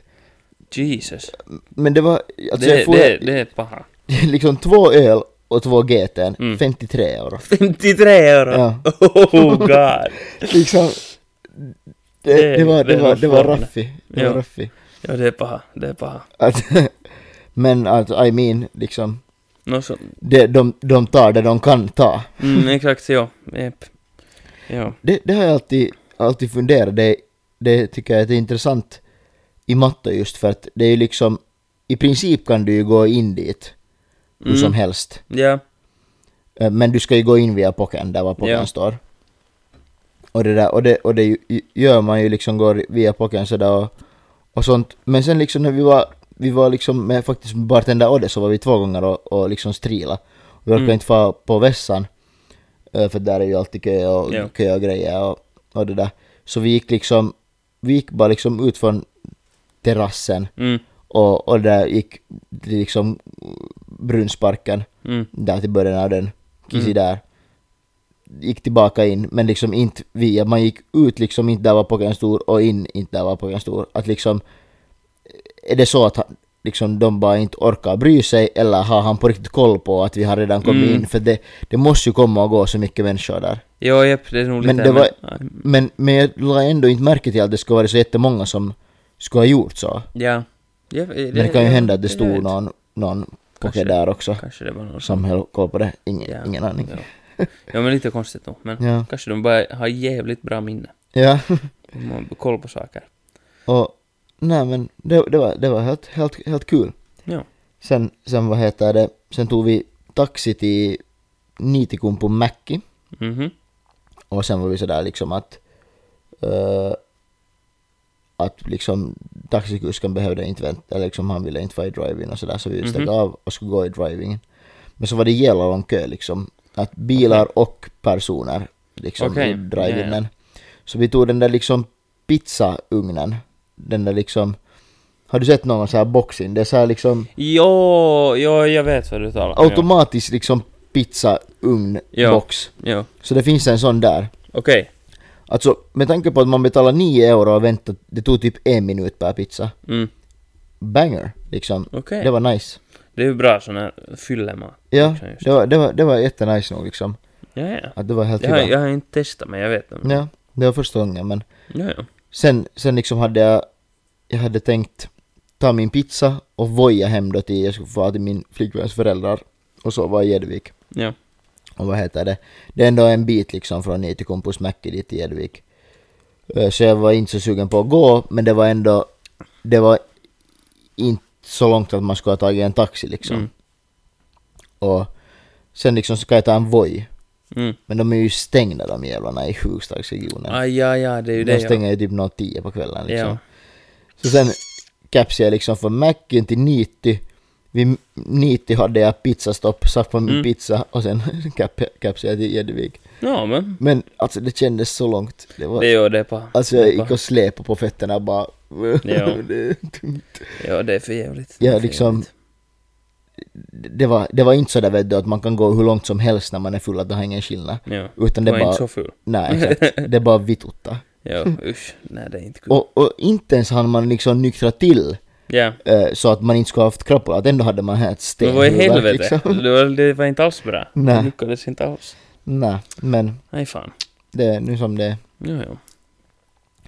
[SPEAKER 2] Jesus.
[SPEAKER 3] Men det var... Alltså
[SPEAKER 2] det,
[SPEAKER 3] jag får,
[SPEAKER 2] det, det är paha.
[SPEAKER 3] liksom två öl och två GT'n.
[SPEAKER 2] Mm.
[SPEAKER 3] 53 euro.
[SPEAKER 2] 53 euro!
[SPEAKER 3] Ja.
[SPEAKER 2] Oh god!
[SPEAKER 3] Liksom... Det,
[SPEAKER 2] Det-
[SPEAKER 3] det
[SPEAKER 2] det
[SPEAKER 3] var, det
[SPEAKER 2] är
[SPEAKER 3] var, det var
[SPEAKER 2] formen.
[SPEAKER 3] raffi. Det var
[SPEAKER 2] Ja.
[SPEAKER 3] raffi.
[SPEAKER 2] Ja, det är paha, det är paha.
[SPEAKER 3] Att, men att, I mean, liksom,
[SPEAKER 2] No, så,
[SPEAKER 3] de, de, de tar det de kan ta.
[SPEAKER 2] mm, exakt, ja. Jep. Ja.
[SPEAKER 3] Det, det har jag alltid, alltid funderat, det, det tycker jag att det är intressant i matte just för att det är ju liksom, i princip kan du ju gå in dit hur
[SPEAKER 2] Mm.
[SPEAKER 3] som helst.
[SPEAKER 2] Ja.
[SPEAKER 3] Eh, Men du ska ju gå in via pocken, där var pocken
[SPEAKER 2] Ja.
[SPEAKER 3] står. Och det där, och det, och det ju- ju- gör man ju liksom, går via pocken sådär och, och sånt. Men sen liksom när vi var, vi var liksom med faktiskt med bartender Odde så var vi två gånger och, och liksom strila. Vi orkade
[SPEAKER 2] Mm.
[SPEAKER 3] inte få på vässan. eh, För där är ju alltid kö och,
[SPEAKER 2] Ja.
[SPEAKER 3] kö och grejer och, och det där. Så vi gick liksom, vi gick bara liksom ut från terrassen
[SPEAKER 2] Mm.
[SPEAKER 3] och, och där gick till liksom Brunnsparken
[SPEAKER 2] Mm.
[SPEAKER 3] där till början av den, Kisi
[SPEAKER 2] Mm.
[SPEAKER 3] där. Gick tillbaka in, men liksom inte via, man gick ut liksom inte där var pojken stor och in inte där var pojken stor. Att liksom, är det så att han, liksom de bara inte orkar bry sig eller har han på riktigt koll på att vi har redan kommit
[SPEAKER 2] Mm.
[SPEAKER 3] in? För det, det måste ju komma och gå så mycket människor där.
[SPEAKER 2] Ja, jep, det är nog
[SPEAKER 3] Men
[SPEAKER 2] lite...
[SPEAKER 3] det var-
[SPEAKER 2] nej.
[SPEAKER 3] Men, men jag la ändå inte märke till att det skulle vara så jättemånga som skulle ha gjort så.
[SPEAKER 2] Ja. ja det,
[SPEAKER 3] Men det kan ju
[SPEAKER 2] ja,
[SPEAKER 3] hända att det
[SPEAKER 2] jag
[SPEAKER 3] stod
[SPEAKER 2] vet.
[SPEAKER 3] någon, någon
[SPEAKER 2] Kanske.
[SPEAKER 3] pojke där också
[SPEAKER 2] Kanske det var någon
[SPEAKER 3] som höll koll på det. Ingen,
[SPEAKER 2] Ja,
[SPEAKER 3] ingen aning.
[SPEAKER 2] Ja. ja, men lite konstigt nog. Men
[SPEAKER 3] Ja.
[SPEAKER 2] kanske de bara har jävligt bra minne.
[SPEAKER 3] ja.
[SPEAKER 2] De har koll på saker.
[SPEAKER 3] Och nej men det, det var, det var helt, helt, helt kul.
[SPEAKER 2] Ja.
[SPEAKER 3] Sen, sen vad heter det, sen tog vi taxi till Nitikumpu Mäki
[SPEAKER 2] Mhm.
[SPEAKER 3] och sen var vi sådär liksom att eh, att liksom taxikusken behövde inte vänta, eller liksom han ville inte vara i driving och sådär så vi steg
[SPEAKER 2] Mhm.
[SPEAKER 3] av och skulle gå i drivingen. Men så var det jävla lång kö liksom, att bilar och personer liksom
[SPEAKER 2] Okej,
[SPEAKER 3] i drivingen.
[SPEAKER 2] ja, ja.
[SPEAKER 3] Så vi tog den där liksom pizzaugnen, den där liksom, har du sett någon så här boxing? Det är så här liksom
[SPEAKER 2] Jo, jo, jag vet vad du talar om. ja.
[SPEAKER 3] automatisk liksom
[SPEAKER 2] Ja.
[SPEAKER 3] pizzaugn-box.
[SPEAKER 2] Ja,
[SPEAKER 3] Så det finns en sån där.
[SPEAKER 2] okej.
[SPEAKER 3] Alltså med tanke på att man betalar 9 euro och väntar, det tog typ en minut per pizza.
[SPEAKER 2] Mm.
[SPEAKER 3] Banger, liksom.
[SPEAKER 2] Okej.
[SPEAKER 3] Det var nice.
[SPEAKER 2] Det är ju bra sån här fyllemat.
[SPEAKER 3] Ja,
[SPEAKER 2] Liksom just.
[SPEAKER 3] det var, det var, det var jättenice nog liksom.
[SPEAKER 2] Ja, ja.
[SPEAKER 3] Att det var helt
[SPEAKER 2] Jag har,
[SPEAKER 3] kiva.
[SPEAKER 2] jag har inte testat men jag vet om det.
[SPEAKER 3] Ja, det var första gången men.
[SPEAKER 2] Ja, ja.
[SPEAKER 3] Sen, sen liksom hade jag, jag hade tänkt ta min pizza och voja hem då till, jag skulle få till min flickväns föräldrar och så var i Edvik.
[SPEAKER 2] Ja.
[SPEAKER 3] och vad heter det, det är ändå en bit liksom från Nitikompus Mäki dit till Edvik. Eh, Så jag var inte så sugen på att gå, men det var ändå, det var inte så långt att man skulle ha tagit en taxi liksom.
[SPEAKER 2] Mm.
[SPEAKER 3] Och sen liksom ska jag ta en Voi,
[SPEAKER 2] Mm.
[SPEAKER 3] men de är ju stängda de jävlarna i Hugstadsregionen.
[SPEAKER 2] Aj, ja, ja, det är ju det.
[SPEAKER 3] De
[SPEAKER 2] ja.
[SPEAKER 3] stänger ju typ 0-10 på kvällen liksom.
[SPEAKER 2] Ja.
[SPEAKER 3] Så sen kapsade jag liksom från Macken till Niti. Vid Niti hade jag pizzastopp, satt på min
[SPEAKER 2] Mm.
[SPEAKER 3] pizza och sen kap- kapsade jag till Edvik.
[SPEAKER 2] Ja, men.
[SPEAKER 3] Men alltså det kändes så långt. Det var,
[SPEAKER 2] Det gör det på.
[SPEAKER 3] alltså
[SPEAKER 2] det
[SPEAKER 3] jag
[SPEAKER 2] är
[SPEAKER 3] gick
[SPEAKER 2] paha.
[SPEAKER 3] och släpade på fötterna bara.
[SPEAKER 2] Ja.
[SPEAKER 3] det,
[SPEAKER 2] Ja, det är för jävligt.
[SPEAKER 3] Ja,
[SPEAKER 2] Det är för
[SPEAKER 3] liksom-
[SPEAKER 2] jävligt.
[SPEAKER 3] det, var, det var inte sådär vet du att man kan gå hur långt som helst när man är full att det har ingen skillnad.
[SPEAKER 2] Ja.
[SPEAKER 3] Utan
[SPEAKER 2] Det
[SPEAKER 3] det
[SPEAKER 2] var
[SPEAKER 3] bara,
[SPEAKER 2] inte så ful.
[SPEAKER 3] nej exakt, det bara vitutta.
[SPEAKER 2] Ja, usch. Nej, det är inte kul.
[SPEAKER 3] Och, och inte ens hann man liksom nyktra till
[SPEAKER 2] Ja.
[SPEAKER 3] eh, så att man inte skulle ha haft krabbor, att ändå hade man här ett sten. liksom.
[SPEAKER 2] Men vad i helvete? Det var, det var inte alls bra.
[SPEAKER 3] Nej.
[SPEAKER 2] Det lyckades inte alls.
[SPEAKER 3] Nej, men
[SPEAKER 2] Nej, fan.
[SPEAKER 3] det är nu som det är.
[SPEAKER 2] Ja, ja.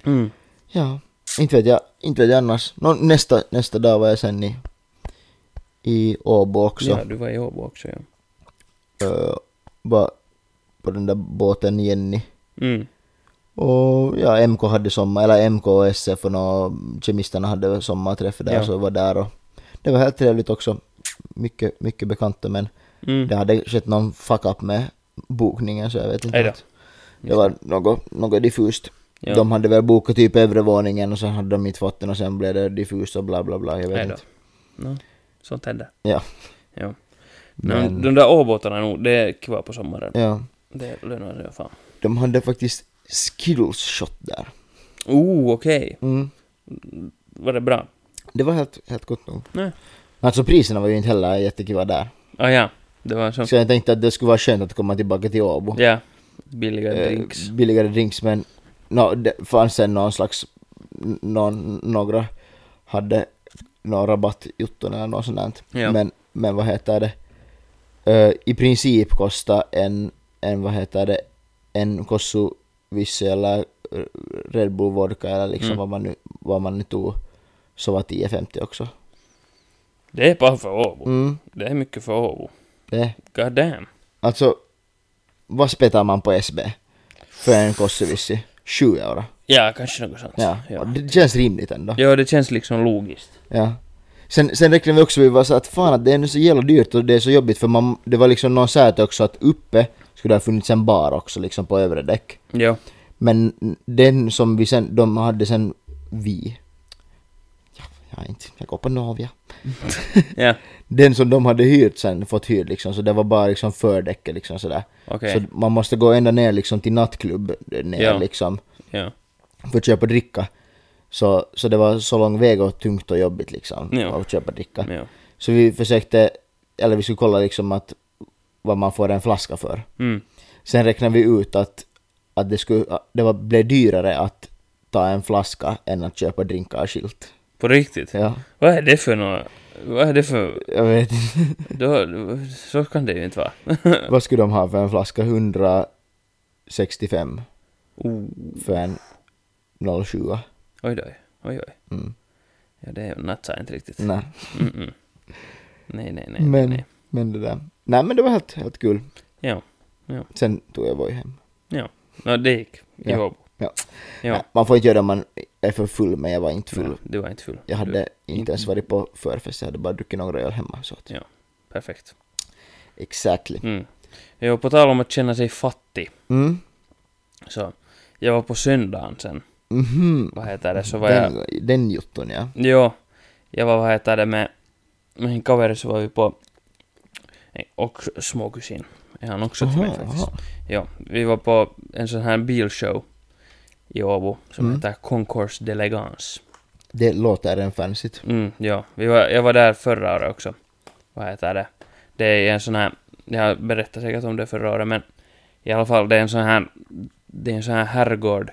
[SPEAKER 2] Mm.
[SPEAKER 3] Ja, inte vet jag, inte vet jag annars. Nå, nästa, nästa dag var jag sen i, i Åbo också.
[SPEAKER 2] Ja, du var i Åbo också, ja.
[SPEAKER 3] Eh, var på den där båten Jenny.
[SPEAKER 2] Mm.
[SPEAKER 3] Och ja, MK hade sommar, eller MK och SF och nå, kemisterna hade sommarträff där
[SPEAKER 2] Ja.
[SPEAKER 3] så jag var där och det var helt trevligt också. Mycket, mycket bekanta men
[SPEAKER 2] Mm.
[SPEAKER 3] det hade skett någon fuck-up med bokningen så jag vet inte.
[SPEAKER 2] Ej då.
[SPEAKER 3] att- Det var något, något diffust.
[SPEAKER 2] Ja.
[SPEAKER 3] De hade väl bokat typ övre våningen och sen hade de inte fått den och sen blev det diffust och bla bla bla. Jag vet
[SPEAKER 2] Nej då.
[SPEAKER 3] inte.
[SPEAKER 2] No, sånt händer.
[SPEAKER 3] Ja.
[SPEAKER 2] Ja. Men,
[SPEAKER 3] Men,
[SPEAKER 2] De där åbåtarna nog, det är kvar på sommaren.
[SPEAKER 3] ja.
[SPEAKER 2] Det lönar sig fan.
[SPEAKER 3] De hade faktiskt skittles shot där.
[SPEAKER 2] Oh, okej.
[SPEAKER 3] Mm.
[SPEAKER 2] Var det bra?
[SPEAKER 3] Det var helt, helt gott nog.
[SPEAKER 2] Nej.
[SPEAKER 3] Alltså priserna var ju inte heller jättekiva där.
[SPEAKER 2] Ah, ja, det var så.
[SPEAKER 3] Så jag tänkte att det skulle vara skönt att komma tillbaka till Åbo.
[SPEAKER 2] Ja. Billiga
[SPEAKER 3] Eh,
[SPEAKER 2] drinks.
[SPEAKER 3] billigare drinks men no, det fanns sen någon slags, någon, några hade någon rabattjutton eller något sånt där.
[SPEAKER 2] Ja.
[SPEAKER 3] Men, men vad heter det? Eh, I princip kostar en, en vad heter det, en kossu visse eller eh, Red Bull vodka eller liksom
[SPEAKER 2] Mm.
[SPEAKER 3] vad, man nu, vad man nu tog. så var 10.50 också.
[SPEAKER 2] Det är bara för Åbo.
[SPEAKER 3] Mm,
[SPEAKER 2] Det är mycket för Åbo.
[SPEAKER 3] det.
[SPEAKER 2] God damn.
[SPEAKER 3] Alltså, vad spetar man på SB? För en kossevissi? 7 euro.
[SPEAKER 2] Ja, kanske något sånt.
[SPEAKER 3] Ja.
[SPEAKER 2] Alltså, ja.
[SPEAKER 3] Och Det känns rimligt ändå.
[SPEAKER 2] Ja, det känns liksom logiskt.
[SPEAKER 3] Ja. Sen, sen räknade vi också vi var så att fan att det är nu så jävla dyrt och det är så jobbigt för man, det var liksom någon säte också att uppe skulle det ha funnits en bar också liksom på övre däck.
[SPEAKER 2] Ja.
[SPEAKER 3] Men den som vi sen, de hade sen vi. Ja, jag är inte, jag går på Novia.
[SPEAKER 2] Ja,
[SPEAKER 3] Den som de hade hyrt sen fått hyrd liksom så det var bara liksom fördäcket liksom sådär.
[SPEAKER 2] okej.
[SPEAKER 3] Så man måste gå ända ner liksom till nattklubb ner
[SPEAKER 2] Ja.
[SPEAKER 3] liksom
[SPEAKER 2] Ja.
[SPEAKER 3] för att köpa dricka. Så, så det var så lång väg och tungt och jobbigt liksom
[SPEAKER 2] Ja.
[SPEAKER 3] att köpa dricka.
[SPEAKER 2] ja.
[SPEAKER 3] Så vi försökte, eller vi skulle kolla liksom att vad man får en flaska för.
[SPEAKER 2] Mm.
[SPEAKER 3] Sen räknade vi ut att, att det, skulle, det var, blev dyrare att ta en flaska än att köpa drinkar skilt.
[SPEAKER 2] På riktigt.
[SPEAKER 3] Ja,
[SPEAKER 2] Vad är det för några... Vad är det för...
[SPEAKER 3] jag vet inte.
[SPEAKER 2] Då, så kan det ju inte vara.
[SPEAKER 3] Vad skulle de ha för en flaska? 165
[SPEAKER 2] Oh,
[SPEAKER 3] för en 07.
[SPEAKER 2] oj då. Oj, oj.
[SPEAKER 3] Mm.
[SPEAKER 2] Ja, det nattar inte riktigt.
[SPEAKER 3] Nej,
[SPEAKER 2] Mm -mm. Nej, nej, nej. nej,
[SPEAKER 3] men,
[SPEAKER 2] nej.
[SPEAKER 3] men det där. Nej men det var helt, helt kul.
[SPEAKER 2] Ja. Ja.
[SPEAKER 3] Sen tog jag Voi hem.
[SPEAKER 2] Ja. No, det gick. I
[SPEAKER 3] Ja.
[SPEAKER 2] Åbo.
[SPEAKER 3] Ja.
[SPEAKER 2] Ja.
[SPEAKER 3] Nej, man får inte göra det om man är för full, men jag var inte full.
[SPEAKER 2] Nej, Du var inte full.
[SPEAKER 3] Jag
[SPEAKER 2] Du,
[SPEAKER 3] hade inte ens varit på förfest, jag hade bara druckit några öl hemma. Så att,
[SPEAKER 2] Ja. perfekt.
[SPEAKER 3] exactly.
[SPEAKER 2] Mm. Jo, på tal om att känna sig fattig.
[SPEAKER 3] Mm.
[SPEAKER 2] Så. Jag var på söndagen sen.
[SPEAKER 3] Mhm.
[SPEAKER 2] Vad heter det? Så var jag...
[SPEAKER 3] Den, den jutton ja.
[SPEAKER 2] Joo, jag var vad heter det med min kaveri så var vi på och småkusin. Är han också till mig
[SPEAKER 3] Aha,
[SPEAKER 2] faktiskt.
[SPEAKER 3] aha.
[SPEAKER 2] Ja, vi var på en sån här bilshow i Åbo som
[SPEAKER 3] Mm.
[SPEAKER 2] heter Concours d'Elegance.
[SPEAKER 3] Det låter en fancyt.
[SPEAKER 2] Mm, ja, vi var, jag var där förra året också. Vad heter det? Det är en sån här, jag berättade säkert om det förra året men i alla fall det är en sån här, det är en sån här herrgård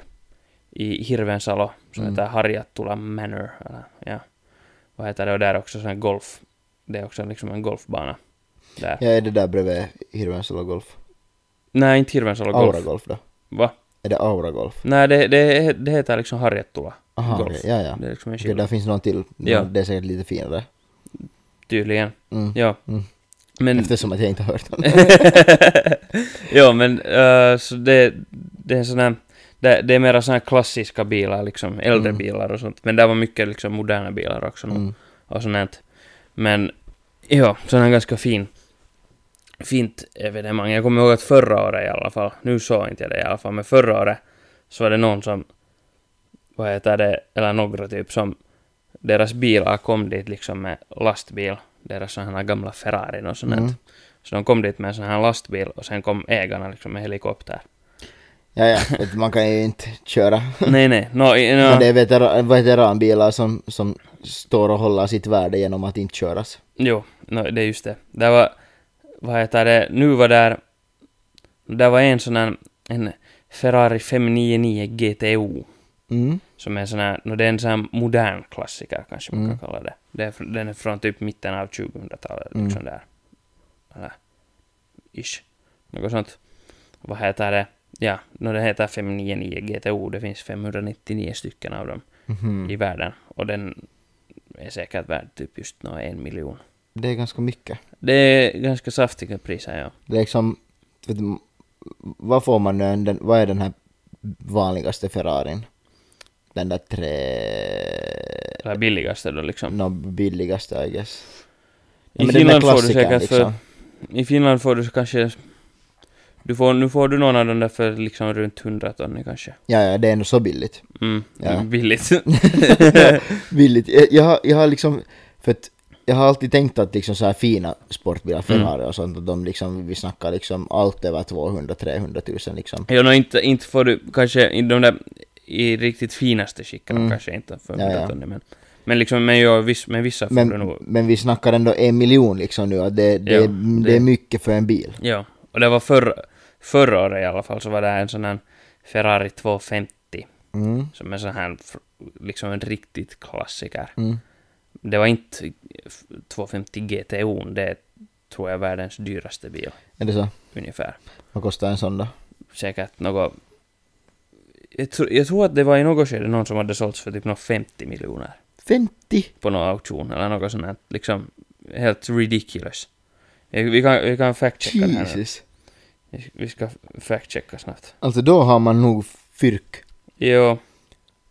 [SPEAKER 2] i Hirvensalo som
[SPEAKER 3] Mm.
[SPEAKER 2] heter Harjattula Manor. Eller, ja. Vad heter det? Och där är också sån här golf. Det är också liksom en golfbana. Där.
[SPEAKER 3] Ja, är det där bredvid Hirvensalo Golf?
[SPEAKER 2] Nej, inte Hirvensalo golf.
[SPEAKER 3] Aura Golf då?
[SPEAKER 2] Va?
[SPEAKER 3] Är det Aura Golf?
[SPEAKER 2] Nej, det, det, det heter liksom Harjattula.
[SPEAKER 3] Aha,
[SPEAKER 2] golf.
[SPEAKER 3] okej, ja ja.
[SPEAKER 2] Det är liksom en
[SPEAKER 3] Okej,
[SPEAKER 2] skillnad.
[SPEAKER 3] där finns någon till.
[SPEAKER 2] Ja.
[SPEAKER 3] Ja. Det är säkert lite finare.
[SPEAKER 2] Tydligen.
[SPEAKER 3] Mm.
[SPEAKER 2] Ja.
[SPEAKER 3] Mm.
[SPEAKER 2] Men...
[SPEAKER 3] Eftersom att jag inte har hört om det.
[SPEAKER 2] jo, men eh, så det, det är en sån här, det, det är mera såna här klassiska bilar liksom, äldre
[SPEAKER 3] Mm.
[SPEAKER 2] bilar och sånt. Men där var mycket liksom moderna bilar också nog
[SPEAKER 3] Mm.
[SPEAKER 2] och sånt. här. Men ja, sån här ganska fin, fint evenemang. Jag kommer ihåg att förra året i alla fall, nu såg inte jag det i alla fall, men förra året så var det någon som, vad heter det, eller några typ som, deras bilar kom dit liksom med lastbil, deras sådana här gamla Ferrari och sånt. här.
[SPEAKER 3] Mm.
[SPEAKER 2] Så de kom dit med en sån här lastbil och sen kom ägarna liksom med helikopter.
[SPEAKER 3] Ja ja, vet du, man kan ju inte köra.
[SPEAKER 2] nej, nej, no, i-
[SPEAKER 3] Men
[SPEAKER 2] no,
[SPEAKER 3] det är vetera- veteranbilar som, som står och håller sitt värde genom att inte köras.
[SPEAKER 2] jo, no, det är just det. Det var, vad heter det, nu var där, där var en sån här, en Ferrari 599 GTO.
[SPEAKER 3] Mm.
[SPEAKER 2] Som är en sån här, no, det är en sån här modern klassiker kanske man
[SPEAKER 3] Mm.
[SPEAKER 2] kan kalla det. det är, fr- den är från typ mitten av 2000-talet
[SPEAKER 3] Mm.
[SPEAKER 2] liksom där. Eller, ish. Något sånt. Vad heter det? Ja, no, det heter 599 GTO, det finns 599 stycken av dem
[SPEAKER 3] Mhm.
[SPEAKER 2] i världen. Och den är säkert värd typ just nå en miljon.
[SPEAKER 3] Det är ganska mycket.
[SPEAKER 2] Det är ganska saftiga priser, ja.
[SPEAKER 3] Det är liksom, vet du, vad får man nu, den, vad är den här vanligaste Ferrarin? Den där tre...
[SPEAKER 2] Eller billigaste då liksom.
[SPEAKER 3] Någon billigaste I guess.
[SPEAKER 2] I
[SPEAKER 3] Ja, men den där
[SPEAKER 2] Finland får du
[SPEAKER 3] klassikern
[SPEAKER 2] säkert
[SPEAKER 3] liksom.
[SPEAKER 2] för... I Finland får du kanske... Du får, nu får du någon av dem där för liksom runt 100 ton kanske.
[SPEAKER 3] Ja, ja, det är ändå så billigt.
[SPEAKER 2] Mm,
[SPEAKER 3] Ja.
[SPEAKER 2] billigt.
[SPEAKER 3] billigt. Jag, jag, har- jag har liksom, för att jag har alltid tänkt att liksom så här fina
[SPEAKER 2] Mm.
[SPEAKER 3] sportbilar, Ferrari och sånt, att de liksom, vi snackar liksom allt över 200-300 000 liksom.
[SPEAKER 2] ja, no, inte, inte får du kanske i de där i riktigt finaste skicken
[SPEAKER 3] Mm.
[SPEAKER 2] kanske inte för
[SPEAKER 3] Ja, ja.
[SPEAKER 2] 100 ton men... Men liksom, men, jo, viss, men vissa får du
[SPEAKER 3] Men,
[SPEAKER 2] nog...
[SPEAKER 3] men vi snackar ändå en miljon liksom nu, att det, det,
[SPEAKER 2] Ja,
[SPEAKER 3] är-
[SPEAKER 2] det-
[SPEAKER 3] det är mycket för en bil.
[SPEAKER 2] Ja, och det var förr, förra året i alla fall så var det en sån här Ferrari 250
[SPEAKER 3] Mm.
[SPEAKER 2] som är sån här fr- liksom en riktigt klassiker.
[SPEAKER 3] Mm.
[SPEAKER 2] Det var inte f- 250 GTO, det är, tror jag världens dyraste bil
[SPEAKER 3] Är det så?
[SPEAKER 2] ungefär.
[SPEAKER 3] Vad kostar en sån då?
[SPEAKER 2] Säkert något... Jag, tro, jag tror att det var i något skede någon som hade sålts för typ något 50 miljoner.
[SPEAKER 3] 50?
[SPEAKER 2] på någon auktion eller något sånt här, liksom helt ridiculous. Eh, Vi kan, vi kan fact-checka det här. nu.
[SPEAKER 3] Jesus.
[SPEAKER 2] Vi- Vi ska fact-checka snabbt.
[SPEAKER 3] Alltså då har man nog fyrk.
[SPEAKER 2] Jo,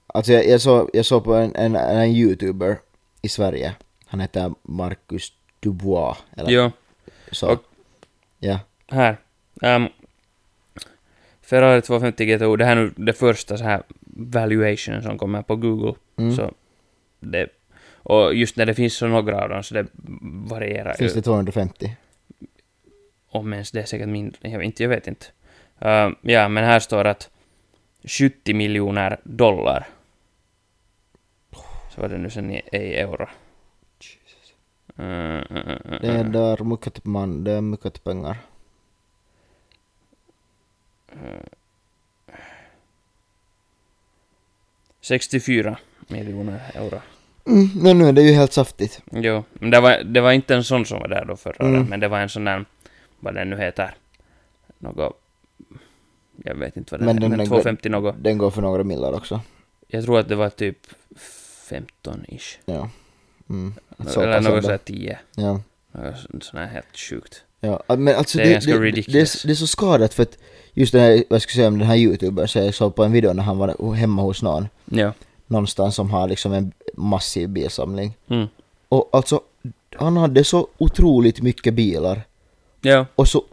[SPEAKER 3] Alltså jag, jag, såg, jag såg på en, en, en youtuber i Sverige. Han heter Marcus Dubois. Eller
[SPEAKER 2] jo,
[SPEAKER 3] så.
[SPEAKER 2] och-
[SPEAKER 3] Ja.
[SPEAKER 2] här. Ehm, Ferrari 250 GTO, det här är nu det första så här valuation som kommer på Google.
[SPEAKER 3] Mm.
[SPEAKER 2] Så det, och just när det finns så några av dem så det varierar
[SPEAKER 3] Finns
[SPEAKER 2] ju.
[SPEAKER 3] det 250?
[SPEAKER 2] Om ens det är säkert mindre, jag vet inte. Jag vet inte. Ehm, ja, men här står att 70 miljoner dollar. Så var det nu sen i, i euro. Mm, mm, mm, mm,
[SPEAKER 3] Det är där mycket man, det är mycket pengar.
[SPEAKER 2] mm. 64 miljoner euro.
[SPEAKER 3] Mm, men nu är det ju helt saftigt.
[SPEAKER 2] Jo, men det var, det var inte en sån som var där då förra
[SPEAKER 3] Mm.
[SPEAKER 2] året, men det var en sån där, vad den nu heter, något, jag vet inte vad den
[SPEAKER 3] Men
[SPEAKER 2] heter,
[SPEAKER 3] den
[SPEAKER 2] men
[SPEAKER 3] där-
[SPEAKER 2] 250 något.
[SPEAKER 3] Den går för några millar också.
[SPEAKER 2] Jag tror att det var typ 15-ish.
[SPEAKER 3] Ja. Mm. Så
[SPEAKER 2] Eller
[SPEAKER 3] pass
[SPEAKER 2] något
[SPEAKER 3] ändå.
[SPEAKER 2] sånt här 10.
[SPEAKER 3] Ja.
[SPEAKER 2] Något sånt- sånt här helt sjukt.
[SPEAKER 3] Ja, att- men alltså
[SPEAKER 2] Det är
[SPEAKER 3] det, det,
[SPEAKER 2] ganska
[SPEAKER 3] det, det, det, är,
[SPEAKER 2] ridiculous.
[SPEAKER 3] så- det är så skadat för att just den här, vad ska jag säga om den här youtubern, så jag såg på en video när han var hemma hos någon,
[SPEAKER 2] Ja.
[SPEAKER 3] någonstans som har liksom en massiv bilsamling.
[SPEAKER 2] Mm.
[SPEAKER 3] Och alltså, han hade så otroligt mycket bilar.
[SPEAKER 2] Ja.
[SPEAKER 3] Och så,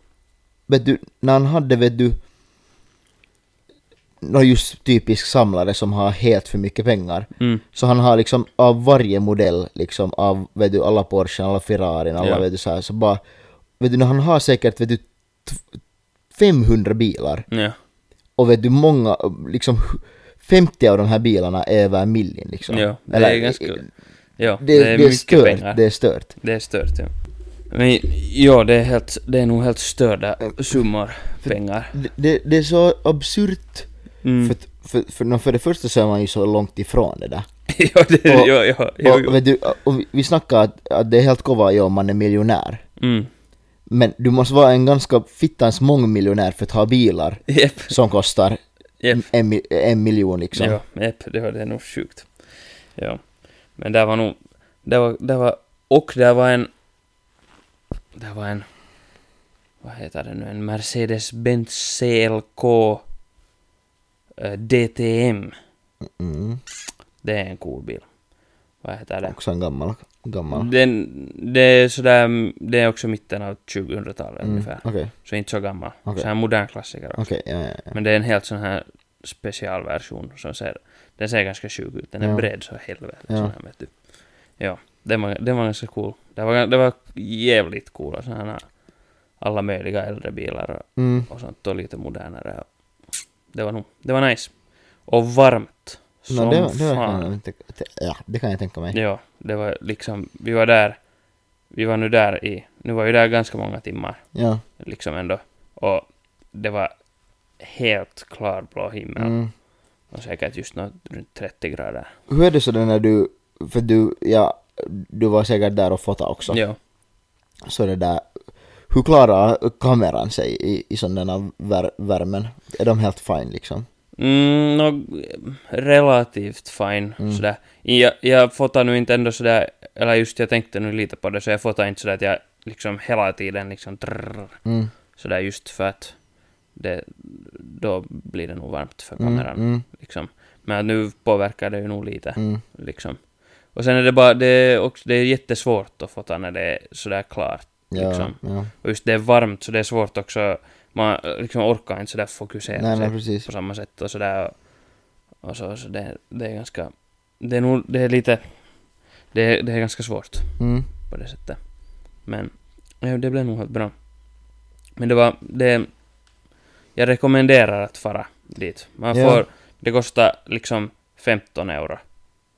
[SPEAKER 3] vet du, när han hade, vet du, någon just typisk samlare som har helt för mycket pengar.
[SPEAKER 2] Mm.
[SPEAKER 3] Så han har liksom av varje modell, liksom av vet du, alla Porsche, alla Ferrari, alla
[SPEAKER 2] Ja.
[SPEAKER 3] vet du så här, så bara, vet du, när han har säkert vet du, t- 500 bilar
[SPEAKER 2] Ja.
[SPEAKER 3] och vet du många, liksom 50 av de här bilarna är över millin liksom.
[SPEAKER 2] Ja. Det
[SPEAKER 3] Eller,
[SPEAKER 2] är ganska...
[SPEAKER 3] eh,
[SPEAKER 2] Ja.
[SPEAKER 3] Det, det är,
[SPEAKER 2] mycket
[SPEAKER 3] stört,
[SPEAKER 2] pengar.
[SPEAKER 3] det är stört.
[SPEAKER 2] Det är stört, ja. Men ja, det är helt... Det är nog helt störda
[SPEAKER 3] Eh,
[SPEAKER 2] summor pengar.
[SPEAKER 3] Det, det, det är så absurt,
[SPEAKER 2] Mm.
[SPEAKER 3] för, att- för, för, nå, för det första så är man ju så långt ifrån det där.
[SPEAKER 2] ja, det...
[SPEAKER 3] Och-
[SPEAKER 2] ja, ja, jo,
[SPEAKER 3] Och,
[SPEAKER 2] jo.
[SPEAKER 3] vet du, och vi- vi snackar att, att det är helt kova ja, om man är miljonär.
[SPEAKER 2] Mm.
[SPEAKER 3] Men du måste vara en ganska fittans mångmiljonär för att ha bilar
[SPEAKER 2] Jep,
[SPEAKER 3] som kostar
[SPEAKER 2] jep.
[SPEAKER 3] en, mi- en miljon liksom.
[SPEAKER 2] Ja, jep, det var det är nog sjukt. Ja. Men där var nog... Det var, det var... Och där var en... Där var en... Vad heter det nu? En Mercedes-Benz CLK eh, DTM.
[SPEAKER 3] Mm.
[SPEAKER 2] Det är en cool bil. Vad heter det?
[SPEAKER 3] Också en gammal. gammal.
[SPEAKER 2] Mm, Den, det är sådär, mm, det är också mitten av 2000-talet
[SPEAKER 3] Mm,
[SPEAKER 2] ungefär.
[SPEAKER 3] Okej, okej,
[SPEAKER 2] Så inte så gammal.
[SPEAKER 3] Okej.
[SPEAKER 2] Så här modern klassiker också.
[SPEAKER 3] ja, ja, ja.
[SPEAKER 2] Men det är en helt sån här specialversion som ser, den ser ganska sjuk ut. Den är
[SPEAKER 3] Ja.
[SPEAKER 2] bred så helvete.
[SPEAKER 3] Ja.
[SPEAKER 2] Sån här, vet du. Ja, den var, den var ganska cool. Det var, det var jävligt coola såna här alla möjliga äldre bilar
[SPEAKER 3] Mm.
[SPEAKER 2] och, och sånt och lite modernare. Det var nog, det var nice. Och varmt. Som
[SPEAKER 3] Nå, det, var- det var,
[SPEAKER 2] fan.
[SPEAKER 3] kan jag inte, ja, det kan jag tänka mig.
[SPEAKER 2] Ja, det var liksom, vi var där, vi var nu där i, nu var vi där ganska många timmar,
[SPEAKER 3] Ja.
[SPEAKER 2] liksom ändå, och det var helt klarblå himmel,
[SPEAKER 3] Mm.
[SPEAKER 2] och säkert just något runt 30 grader.
[SPEAKER 3] Hur är det sådär när du, för du, ja, du var säkert där och fotade också.
[SPEAKER 2] Ja.
[SPEAKER 3] Så det där, hur klarar kameran sig i, i sådana vär, värmen? Är de helt fine liksom?
[SPEAKER 2] Mm, no, relativt fine,
[SPEAKER 3] Mm.
[SPEAKER 2] sådär. Jag, jag fotar nu inte ändå sådär, eller just jag tänkte nu lite på det, så jag fotar inte sådär att jag liksom hela tiden liksom trrr,
[SPEAKER 3] Mm.
[SPEAKER 2] sådär just för att det, då blir det nog varmt för
[SPEAKER 3] Mm,
[SPEAKER 2] kameran.
[SPEAKER 3] mm,
[SPEAKER 2] liksom. Men nu påverkar det ju nog lite,
[SPEAKER 3] mm.
[SPEAKER 2] liksom. Och sen är det bara, det är, också, det är jättesvårt att fota när det är sådär klart,
[SPEAKER 3] Ja,
[SPEAKER 2] liksom.
[SPEAKER 3] ja.
[SPEAKER 2] Och just det är varmt, så det är svårt också, man eh, liksom orkar inte sådär fokusera
[SPEAKER 3] Nej
[SPEAKER 2] sig
[SPEAKER 3] men precis.
[SPEAKER 2] på samma sätt och sådär. Och, och så, så det, det är ganska, det är nog, det är lite, det är, det är ganska svårt
[SPEAKER 3] Mm.
[SPEAKER 2] på det sättet. Men ja, det blev nog helt bra. Men det var, det... Jag rekommenderar att fara dit. Man
[SPEAKER 3] Ja.
[SPEAKER 2] får, det kostar liksom 15 euro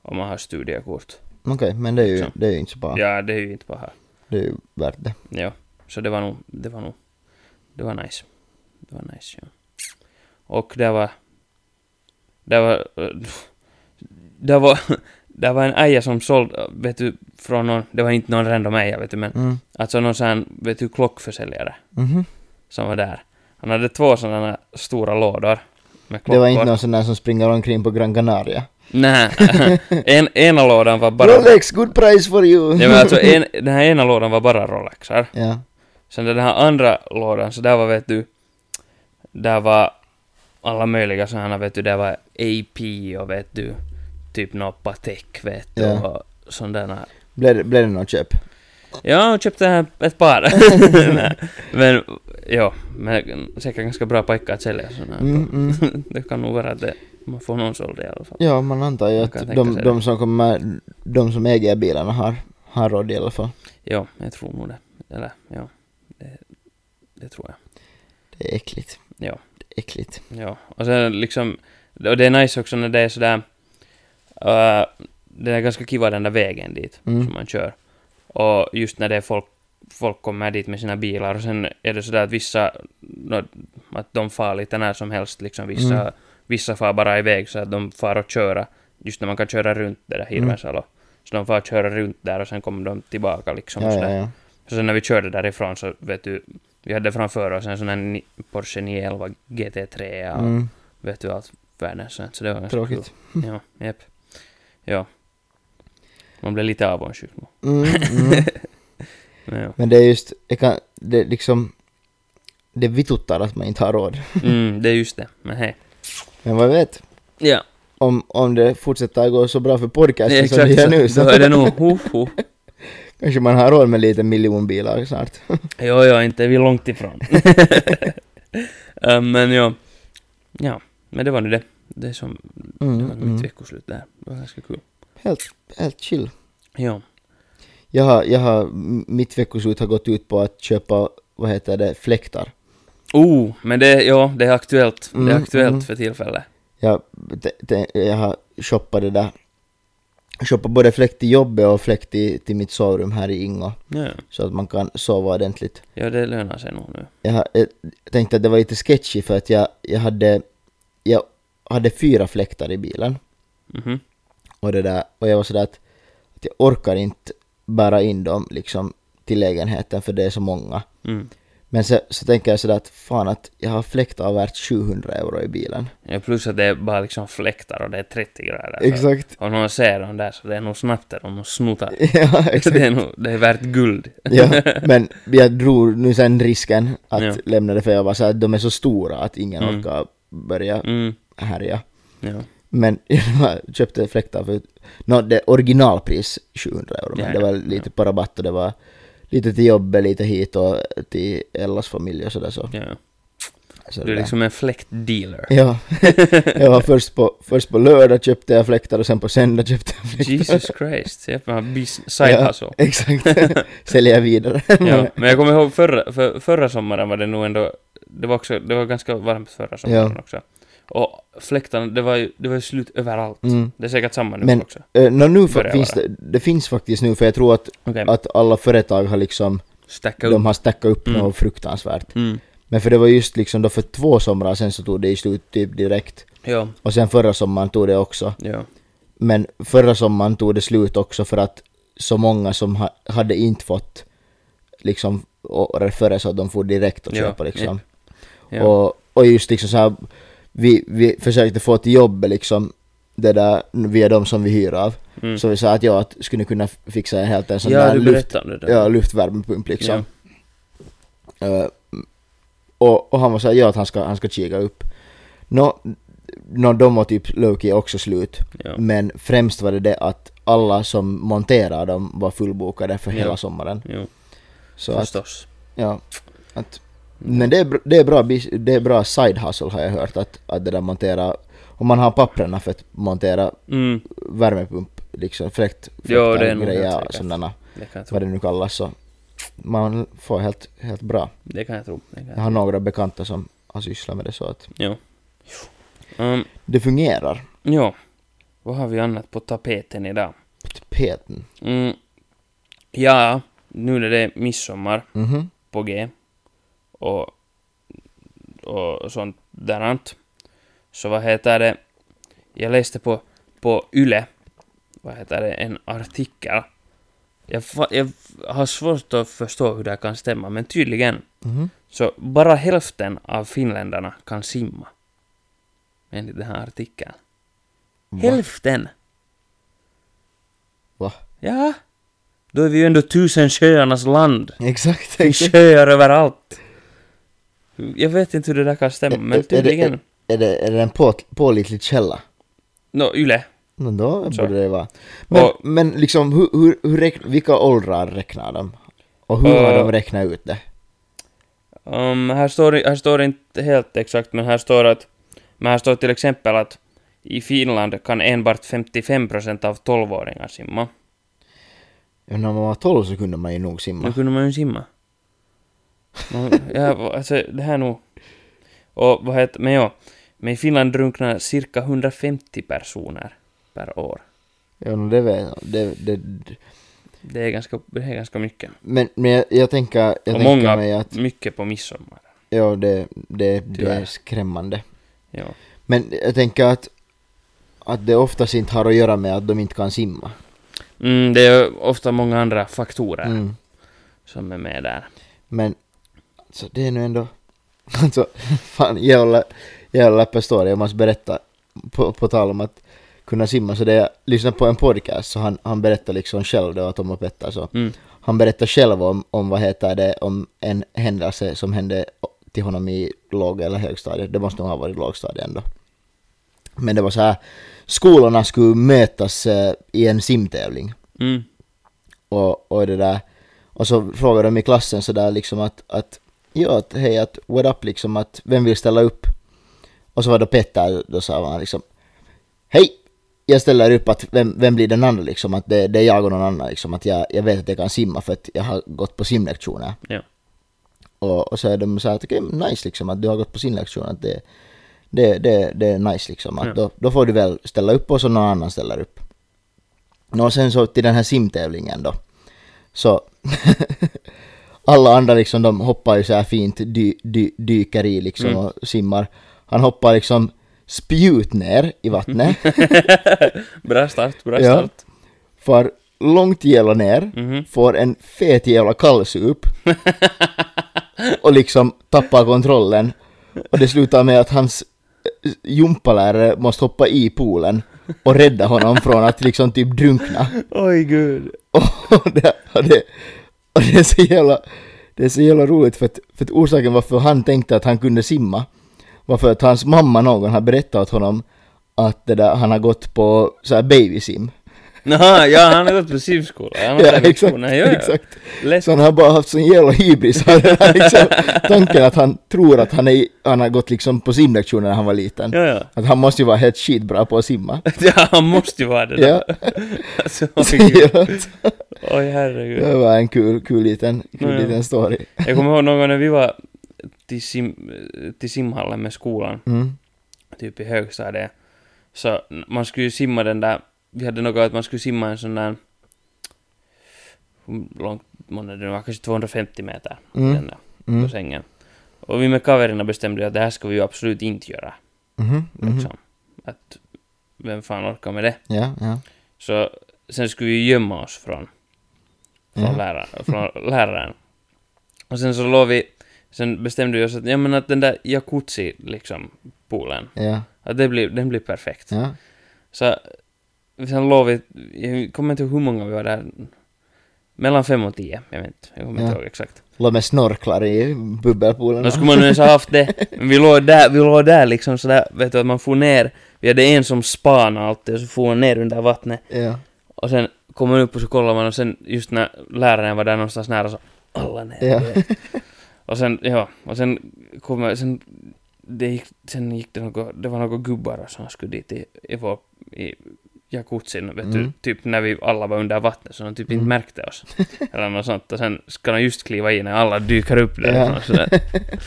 [SPEAKER 2] om man har studiekort.
[SPEAKER 3] Okej, men det är, ju,
[SPEAKER 2] Så.
[SPEAKER 3] det är ju inte så bra.
[SPEAKER 2] Liksom. Ja, det är ju inte bara
[SPEAKER 3] Det är ju värt det.
[SPEAKER 2] Ja, så det var nog, det var nog, det var nice. Det var nice, ja. Och det var, det var, eh, det var, det var en äja som sålde, vet du, från någon, det var inte någon random äja, vet du, men
[SPEAKER 3] Mm.
[SPEAKER 2] Alltså någon sån, här, vet du, klockförsäljare
[SPEAKER 3] Mhm.
[SPEAKER 2] som var där. Han hade två sådana stora lådor med klockor.
[SPEAKER 3] Det var inte någon sån där som springer omkring på Gran Canaria.
[SPEAKER 2] Nej, en, ena lådan var bara...
[SPEAKER 3] Rolex, good price for you!
[SPEAKER 2] Ja, men alltså, en, den här ena lådan var bara Rolexar.
[SPEAKER 3] ja.
[SPEAKER 2] Sen den här andra lådan, så där var vet du, där var alla möjliga sådana, vet du, där var AP och vet du, typ något Patek, vet du,
[SPEAKER 3] Ja.
[SPEAKER 2] och sådana.
[SPEAKER 3] Blev, det- blev det något köp?
[SPEAKER 2] Ja, jag köpte här ett par. Nej, men, ja, men säkert ganska bra pojkar att sälja sådana.
[SPEAKER 3] Mm, mm.
[SPEAKER 2] det kan nog vara att det, man får någon såld i alla fall.
[SPEAKER 3] Ja, man antar ju
[SPEAKER 2] Man
[SPEAKER 3] att
[SPEAKER 2] kan tänka
[SPEAKER 3] de,
[SPEAKER 2] sig
[SPEAKER 3] de
[SPEAKER 2] det.
[SPEAKER 3] som kommer, de som äger bilarna har, har råd i alla fall.
[SPEAKER 2] Ja, jag tror nog det. Eller, ja, det, det tror jag.
[SPEAKER 3] Det är äckligt.
[SPEAKER 2] Ja.
[SPEAKER 3] Det är äckligt.
[SPEAKER 2] Ja, och sen liksom, och det är nice också när det är sådär, uh, det är ganska kiva den där vägen dit
[SPEAKER 3] Mm.
[SPEAKER 2] som man kör. Och just när det är folk, folk kommer dit med sina bilar och sen är det sådär att vissa, nå, att de far lite när som helst liksom, vissa,
[SPEAKER 3] Mm.
[SPEAKER 2] vissa far bara iväg så att de far och köra, just när man kan köra runt det
[SPEAKER 3] Mm.
[SPEAKER 2] där Hirvensalon. Så de far och köra runt där och sen kommer de tillbaka liksom. och
[SPEAKER 3] Ja,
[SPEAKER 2] sådär.
[SPEAKER 3] ja, ja.
[SPEAKER 2] Så sen när vi körde därifrån så vet du, vi hade framför oss en sån här ni- Porsche 911 GT3 och
[SPEAKER 3] Mm.
[SPEAKER 2] vet du allt världens sånt. Så det var ganska
[SPEAKER 3] Tråkigt.
[SPEAKER 2] kul. Ja, japp. Ja. Man blev lite avundsjuk nu.
[SPEAKER 3] Mm, mm.
[SPEAKER 2] Men ja.
[SPEAKER 3] Men det är just, jag kan, det är liksom, det vituttar att man inte har råd.
[SPEAKER 2] Mm, det är just det. Men hej.
[SPEAKER 3] Men vad vet,
[SPEAKER 2] Ja,
[SPEAKER 3] om, om det fortsätter gå så bra för
[SPEAKER 2] det
[SPEAKER 3] podcasten
[SPEAKER 2] är
[SPEAKER 3] som det
[SPEAKER 2] exakt
[SPEAKER 3] gör nu
[SPEAKER 2] så.
[SPEAKER 3] så
[SPEAKER 2] Då är det nog hoho.
[SPEAKER 3] kanske man har råd med lite miljonbilar snart.
[SPEAKER 2] Jo, jo, inte är vi långt ifrån. Äh, men ja. Ja, men det var nu det. Det som
[SPEAKER 3] Mm,
[SPEAKER 2] det var
[SPEAKER 3] mm.
[SPEAKER 2] mitt veckoslut där. Det var ganska kul.
[SPEAKER 3] Helt, helt chill.
[SPEAKER 2] Ja.
[SPEAKER 3] Jag har, jag har, mitt veckoslut har gått ut på att köpa, vad heter det, fläktar.
[SPEAKER 2] Oh, men det, ja, det är aktuellt. det är
[SPEAKER 3] Mm,
[SPEAKER 2] aktuellt
[SPEAKER 3] mm.
[SPEAKER 2] för tillfället.
[SPEAKER 3] Jag, te, te, jag har shoppat det där. Shoppat både fläkt till jobbet och fläkt till, till mitt sovrum här i Ingo.
[SPEAKER 2] Ja,
[SPEAKER 3] Så att man kan sova ordentligt.
[SPEAKER 2] ja det lönar sig nog nu.
[SPEAKER 3] Jag, har- jag tänkte att det var lite sketchy för att jag, jag hade, jag hade fyra fläktar i bilen.
[SPEAKER 2] Mhm.
[SPEAKER 3] Och det där, och jag var sådär att, att jag orkar inte bära in dem liksom till lägenheten för det är så många.
[SPEAKER 2] Mm.
[SPEAKER 3] Men så, så tänker jag sådär att fan att jag har fläktar värt 700 euro i bilen.
[SPEAKER 2] Ja, plus att det är bara liksom fläktar och det är 30 grader. så-
[SPEAKER 3] Exakt.
[SPEAKER 2] Om någon ser dem där så det är nog snabbt där de snuttar.
[SPEAKER 3] ja, exakt.
[SPEAKER 2] det, är nog, det är värt guld.
[SPEAKER 3] ja, men jag drog nu sen risken att
[SPEAKER 2] Ja.
[SPEAKER 3] lämna det för jag var såhär att de är så stora att ingen
[SPEAKER 2] Mm.
[SPEAKER 3] orkar börja
[SPEAKER 2] Mm.
[SPEAKER 3] härja.
[SPEAKER 2] Ja.
[SPEAKER 3] Men jag köpte fläktar för, nå det originalpris 700 euro, men
[SPEAKER 2] Ja, ja,
[SPEAKER 3] det var lite på rabatt och det var lite till jobbet, lite hit och till Ellas familj och sådär så.
[SPEAKER 2] ja.
[SPEAKER 3] så det
[SPEAKER 2] Du är
[SPEAKER 3] där.
[SPEAKER 2] liksom en fläktdealer.
[SPEAKER 3] Ja, jag var först på, först på lördag köpte jag fläktar och sen på söndag köpte jag fläktar.
[SPEAKER 2] Jesus Christ. Jag har bus- side
[SPEAKER 3] Ja.
[SPEAKER 2] hustle.
[SPEAKER 3] Exakt, säljer jag vidare.
[SPEAKER 2] Ja, men jag kommer ihåg förra, för, förra sommaren var det nog ändå, det var, också, det var ganska varmt förra sommaren
[SPEAKER 3] Ja.
[SPEAKER 2] också. Och fläktarna, det var ju, det var ju slut överallt.
[SPEAKER 3] Mm.
[SPEAKER 2] Det är säkert samma nu
[SPEAKER 3] Men-
[SPEAKER 2] också.
[SPEAKER 3] Eh, nå, nu fa-
[SPEAKER 2] Börjar
[SPEAKER 3] finns
[SPEAKER 2] vara.
[SPEAKER 3] det, det finns faktiskt nu för jag tror att,
[SPEAKER 2] Okej,
[SPEAKER 3] att alla företag har liksom,
[SPEAKER 2] stacka upp.
[SPEAKER 3] de har stackat upp
[SPEAKER 2] Mm.
[SPEAKER 3] något fruktansvärt.
[SPEAKER 2] Mm.
[SPEAKER 3] Men för det var just liksom då för två somrar sen så tog det ju slut typ direkt.
[SPEAKER 2] Ja,
[SPEAKER 3] Och sen förra sommaren tog det också.
[SPEAKER 2] ja.
[SPEAKER 3] Men förra sommaren tog det slut också för att så många som ha, hade inte fått liksom året före så att de får direkt och
[SPEAKER 2] Ja,
[SPEAKER 3] köpa liksom.
[SPEAKER 2] ja.
[SPEAKER 3] Och, och just liksom så här, vi, vi försökte få till jobbet liksom det där via de som vi hyr av.
[SPEAKER 2] Mm.
[SPEAKER 3] Så vi sa att ja, att skulle ni kunna fixa helt en sån
[SPEAKER 2] ja,
[SPEAKER 3] där
[SPEAKER 2] du
[SPEAKER 3] luft,
[SPEAKER 2] berättade om det där.
[SPEAKER 3] ja, luftvärmepump liksom. Eh, och, och han var såhär, ja att han ska, han ska kika upp. Nå, nå de var typ Loki också slut.
[SPEAKER 2] Ja.
[SPEAKER 3] Men främst var det det att alla som monterar dem var fullbokade för
[SPEAKER 2] Ja.
[SPEAKER 3] hela sommaren.
[SPEAKER 2] Jo,
[SPEAKER 3] Så att,
[SPEAKER 2] förstås.
[SPEAKER 3] ja. Att, men det är, br- det, är bra, bis- det är bra side hustle har jag hört att, att det där montera, om man har papperna för att montera
[SPEAKER 2] Mm,
[SPEAKER 3] värmepump, liksom fläkt,
[SPEAKER 2] Ja, det är nog helt
[SPEAKER 3] grejer och
[SPEAKER 2] säkert.
[SPEAKER 3] sådana,
[SPEAKER 2] det kan jag tro.
[SPEAKER 3] vad det nu kallas så. Man får helt, helt bra.
[SPEAKER 2] Det kan jag tro. Det kan jag
[SPEAKER 3] Jag
[SPEAKER 2] tro.
[SPEAKER 3] har några bekanta som har sysslat med det så att
[SPEAKER 2] Jo. Um,
[SPEAKER 3] det fungerar.
[SPEAKER 2] ja. Vad har vi annat på tapeten idag?
[SPEAKER 3] Peten.
[SPEAKER 2] Mm. Ja, nu när det är midsommar
[SPEAKER 3] Mhm.
[SPEAKER 2] på G och, och sånt därant. Så vad heter det? Jag läste på, på Yle, vad heter det, en artikel. Jag, fa- jag har svårt att förstå hur det här kan stämma, men tydligen
[SPEAKER 3] Mhm.
[SPEAKER 2] så bara hälften av finländarna kan simma. Enligt den här artikeln. Hälften!
[SPEAKER 3] Va?
[SPEAKER 2] Ja. Då är vi ju ändå tusen sjöarnas land.
[SPEAKER 3] Exakt.
[SPEAKER 2] Det är
[SPEAKER 3] exakt.
[SPEAKER 2] sjöar överallt. Jag vet inte hur det där kan stämma,
[SPEAKER 3] Är-
[SPEAKER 2] men
[SPEAKER 3] är, det,
[SPEAKER 2] tydligen...
[SPEAKER 3] är, är, det, är det en på, pålitlig källa?
[SPEAKER 2] Nå, Yle.
[SPEAKER 3] No, då
[SPEAKER 2] Så.
[SPEAKER 3] borde det vara. Men,
[SPEAKER 2] Och-
[SPEAKER 3] men liksom, hur, hur, hur räkn, vilka åldrar räknar de? Och hur har
[SPEAKER 2] Ö.
[SPEAKER 3] de räknat ut det?
[SPEAKER 2] Um, här, står, här står det inte helt exakt, men här står att... Men här står till exempel att i Finland kan enbart 55% av 12-åringar simma.
[SPEAKER 3] Ja, När man var 12 så kunde man ju nog
[SPEAKER 2] Nu
[SPEAKER 3] simma.
[SPEAKER 2] kunde man ju simma. Man, ja, alltså, det här nog... Och vad heter... Men ja. Men i Finland drunknar cirka 150 personer per år.
[SPEAKER 3] Ja, no, det vet jag. Det, det,
[SPEAKER 2] Det är ganska, det är ganska mycket.
[SPEAKER 3] men men jag, jag tänker, jag
[SPEAKER 2] Och
[SPEAKER 3] tänker
[SPEAKER 2] många,
[SPEAKER 3] mig att
[SPEAKER 2] mycket på midsommar.
[SPEAKER 3] ja, det, det, det
[SPEAKER 2] Tyvärr.
[SPEAKER 3] är skrämmande.
[SPEAKER 2] Ja.
[SPEAKER 3] Men jag tänker att, att det oftast inte har att göra med att de inte kan simma.
[SPEAKER 2] Mm, det är ofta många andra faktorer
[SPEAKER 3] Mm.
[SPEAKER 2] som är med där.
[SPEAKER 3] Men alltså det är nu ändå... Alltså fan jävla, jävla läppestor, jag måste berätta på, på tal om att kunna simma. Så det jag lyssnade på en podcast så han, han berättade liksom själv, det var Tom och Petter så.
[SPEAKER 2] Mm.
[SPEAKER 3] alltså. Han berättade själv om, om vad heter det, om en händelse som hände till honom i låg eller högstadiet. Det måste nog ha varit lågstadiet ändå. Men det var så här, skolorna skulle mötas eh, i en simtävling.
[SPEAKER 2] Mm.
[SPEAKER 3] Och, och det där. Och så frågade de i klassen sådär liksom att, att ja, att, hej, att what up liksom, att vem vill ställa upp? Och så var det Petter, då sa han liksom, hej, jag ställer upp att vem, vem blir den andra liksom, att det, det är jag och någon annan liksom, att jag, jag vet att jag kan simma för att jag har gått på simlektioner.
[SPEAKER 2] Ja.
[SPEAKER 3] Och, och så är de så här att okej, men nice liksom att du har gått på sin lektion. Att det, det, det, det är nice liksom. Att
[SPEAKER 2] Ja.
[SPEAKER 3] då, då får du väl ställa upp och så någon annan ställer upp. Nå, Och sen så till den här simtävlingen då. Så alla andra liksom de hoppar ju så här fint, dy, dy, dyker i liksom
[SPEAKER 2] Mm.
[SPEAKER 3] och simmar. Han hoppar liksom spjut ner i vattnet.
[SPEAKER 2] bra start, bra
[SPEAKER 3] Ja.
[SPEAKER 2] start.
[SPEAKER 3] Far långt jävla ner.
[SPEAKER 2] Mhm.
[SPEAKER 3] Får en fet jävla kallsup. och liksom tappar kontrollen. Och det slutar med att hans eh, jumpalärare måste hoppa i poolen och rädda honom från att liksom typ drunkna.
[SPEAKER 2] Oj gud.
[SPEAKER 3] Och det, och det, och det är så jävla, det är så jävla roligt för att, för att orsaken varför han tänkte att han kunde simma var för att hans mamma någon har berättat åt honom att det där, han har gått på så här babysim.
[SPEAKER 2] Naha, ja han har gått på simskola. Han har
[SPEAKER 3] Ja,
[SPEAKER 2] tagit
[SPEAKER 3] exakt,
[SPEAKER 2] lektioner, ja, ja.
[SPEAKER 3] exakt.
[SPEAKER 2] Lätt.
[SPEAKER 3] Så han har bara haft sån jävla hybris. Han har liksom, tanken att han tror att han, är, han har gått liksom på simlektioner när han var liten.
[SPEAKER 2] Ja, ja.
[SPEAKER 3] Att han måste ju vara helt skitbra på att simma.
[SPEAKER 2] ja, han måste ju vara det där.
[SPEAKER 3] Ja,
[SPEAKER 2] Alltså, oj, gud.
[SPEAKER 3] ja.
[SPEAKER 2] oj herregud.
[SPEAKER 3] det var en kul, kul liten, kul
[SPEAKER 2] Ja, ja.
[SPEAKER 3] liten story.
[SPEAKER 2] Jag kommer ihåg någon gång när vi var till, sim, till simhallen med skolan,
[SPEAKER 3] Mm.
[SPEAKER 2] typ i högstadiet. Så man skulle ju simma den där, vi hade något att man skulle simma en sån där, hur långt månne det var, kanske 250 meter.
[SPEAKER 3] Mm.
[SPEAKER 2] Den där.
[SPEAKER 3] Mm.
[SPEAKER 2] på sängen. Och vi med kaverna bestämde ju att det här ska vi ju absolut inte göra.
[SPEAKER 3] Mhm, mhm.
[SPEAKER 2] Liksom. Att vem fan orkar med det?
[SPEAKER 3] Ja, ja.
[SPEAKER 2] Så sen skulle vi ju gömma oss från, från,
[SPEAKER 3] Ja.
[SPEAKER 2] läraren, från läraren. Och sen så låg vi, sen bestämde vi oss att, ja men att den där jacuzzi liksom, poolen,
[SPEAKER 3] Ja,
[SPEAKER 2] att det blir, den blir perfekt.
[SPEAKER 3] ja.
[SPEAKER 2] Så sen låg vi, jag kommer inte ihåg hur många vi var där, mellan fem och tio, jag vet inte, jag kommer inte
[SPEAKER 3] Ja.
[SPEAKER 2] ihåg exakt.
[SPEAKER 3] Låt mig snorklar i bubbelpoolen.
[SPEAKER 2] Då skulle man nu ens ha haft det. Men vi låg där, vi låg där liksom sådär, vet du, att man får ner. Vi hade en som spanade alltid och så får ner under vattnet.
[SPEAKER 3] Ja.
[SPEAKER 2] Och sen kom man upp och så kollade man och sen just när läraren var där någonstans nära så alla ner.
[SPEAKER 3] Ja.
[SPEAKER 2] Och sen, ja, och sen kom jag, sen det gick, sen gick det något, det var några gubbar som skulle dit i, i vår, i jacuzzin, vet du,
[SPEAKER 3] Mm.
[SPEAKER 2] typ när vi alla var under vattnet så de typ inte
[SPEAKER 3] Mm.
[SPEAKER 2] märkte oss. Eller något sånt. Och sen ska de just kliva i när alla dyker upp därifrån
[SPEAKER 3] Ja.
[SPEAKER 2] sådär.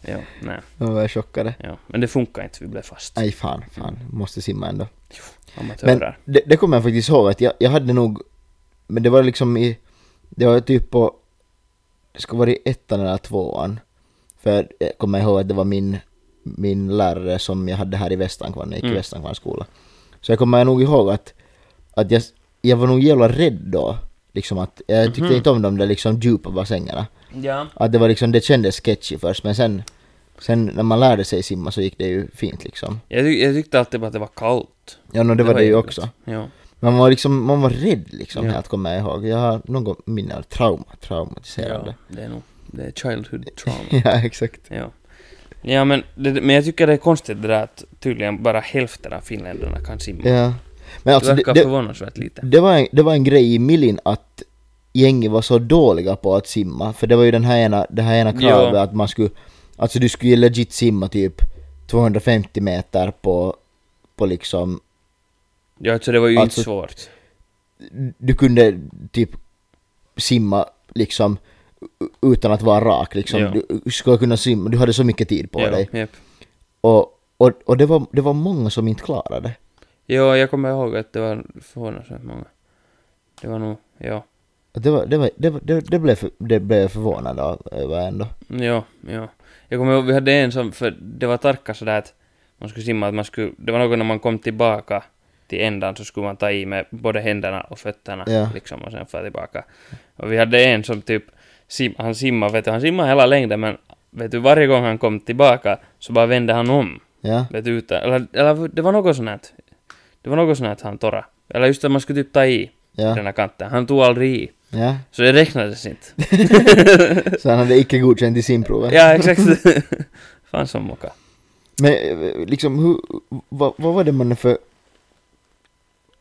[SPEAKER 2] Ja, nej.
[SPEAKER 3] De var chockade.
[SPEAKER 2] Ja, men det funkar inte, vi blev fast.
[SPEAKER 3] Nej, fan, fan. Måste simma ändå. Men
[SPEAKER 2] Amatörer.
[SPEAKER 3] det, det kommer jag faktiskt ihåg att jag, jag hade nog, men det var liksom i, det var typ på, det ska vara i ettan eller tvåan. För jag kommer ihåg att det var min, min lärare som jag hade här i Västankvarn, när jag gick
[SPEAKER 2] Mm.
[SPEAKER 3] i Västankvarns skola. Så jag kommer nog ihåg att, att jag, jag var nog jävla rädd då. Liksom att, jag tyckte
[SPEAKER 2] Mhm.
[SPEAKER 3] inte om de där liksom djupa bassängerna.
[SPEAKER 2] Ja.
[SPEAKER 3] Att det var liksom, det kändes sketchy först men sen, sen när man lärde sig simma så gick det ju fint liksom.
[SPEAKER 2] Jag, tyck- jag tyckte alltid bara att det var kallt. gott.
[SPEAKER 3] Ja, no, det var det ju
[SPEAKER 2] jävligt.
[SPEAKER 3] också.
[SPEAKER 2] Ja.
[SPEAKER 3] Men man var liksom, man var rädd liksom
[SPEAKER 2] Ja.
[SPEAKER 3] helt kommer jag ihåg. Jag har någon minne av trauma, traumatiserande.
[SPEAKER 2] ja, det är nog, det är childhood trauma.
[SPEAKER 3] Ja, exakt.
[SPEAKER 2] Ja. Ja, men, det, men jag tycker det är konstigt det där att tydligen bara hälften av finländarna kan simma.
[SPEAKER 3] Ja. Men alltså,
[SPEAKER 2] det
[SPEAKER 3] det,
[SPEAKER 2] verkar
[SPEAKER 3] det,
[SPEAKER 2] förvånansvärt lite.
[SPEAKER 3] det, var en, det var en grej i Milin att gänget var så dåliga på att simma, för det var ju den här ena, det här ena
[SPEAKER 2] Ja.
[SPEAKER 3] kravet att man skulle, alltså du skulle ju legit simma typ 250 meter på, på liksom,
[SPEAKER 2] Ja, alltså det var ju
[SPEAKER 3] Alltså-
[SPEAKER 2] inte svårt.
[SPEAKER 3] du kunde typ simma liksom u- utan att vara rak liksom,
[SPEAKER 2] Ja.
[SPEAKER 3] du skulle kunna simma, du hade så mycket tid på
[SPEAKER 2] ja,
[SPEAKER 3] dig.
[SPEAKER 2] Japp.
[SPEAKER 3] Och, och, och det, var, det var många som inte klarade.
[SPEAKER 2] Ja, jag kommer ihåg att det var förvånansvärt många. Det var nog, ja.
[SPEAKER 3] Det, var, det, var, det, var, det, det, blev, för, det blev jag förvånad av- över ändå.
[SPEAKER 2] Ja, ja. Jag kommer ihåg, vi hade en som, för det var tarka sådär att man skulle simma, att man skulle, det var något när man kom tillbaka till ändan så skulle man ta i med både händerna och fötterna
[SPEAKER 3] Ja.
[SPEAKER 2] liksom och sen få tillbaka. Och vi hade en som typ, sim, han simmade, vet du, han simmade hela längden men vet du, varje gång han kom tillbaka så bara vände han om.
[SPEAKER 3] Ja.
[SPEAKER 2] Vet du, utan, eller, eller det var något sånt här, det var något sånt här att han torra. Eller just att man skulle typ ta i
[SPEAKER 3] Ja.
[SPEAKER 2] den här kanten, han tog aldrig i.
[SPEAKER 3] Ja.
[SPEAKER 2] Så det räknades inte.
[SPEAKER 3] Så han hade icke godkänt i simprovet.
[SPEAKER 2] Ja, exakt. Fan som moka.
[SPEAKER 3] Men eh, liksom, hur, vad, vad var det man för...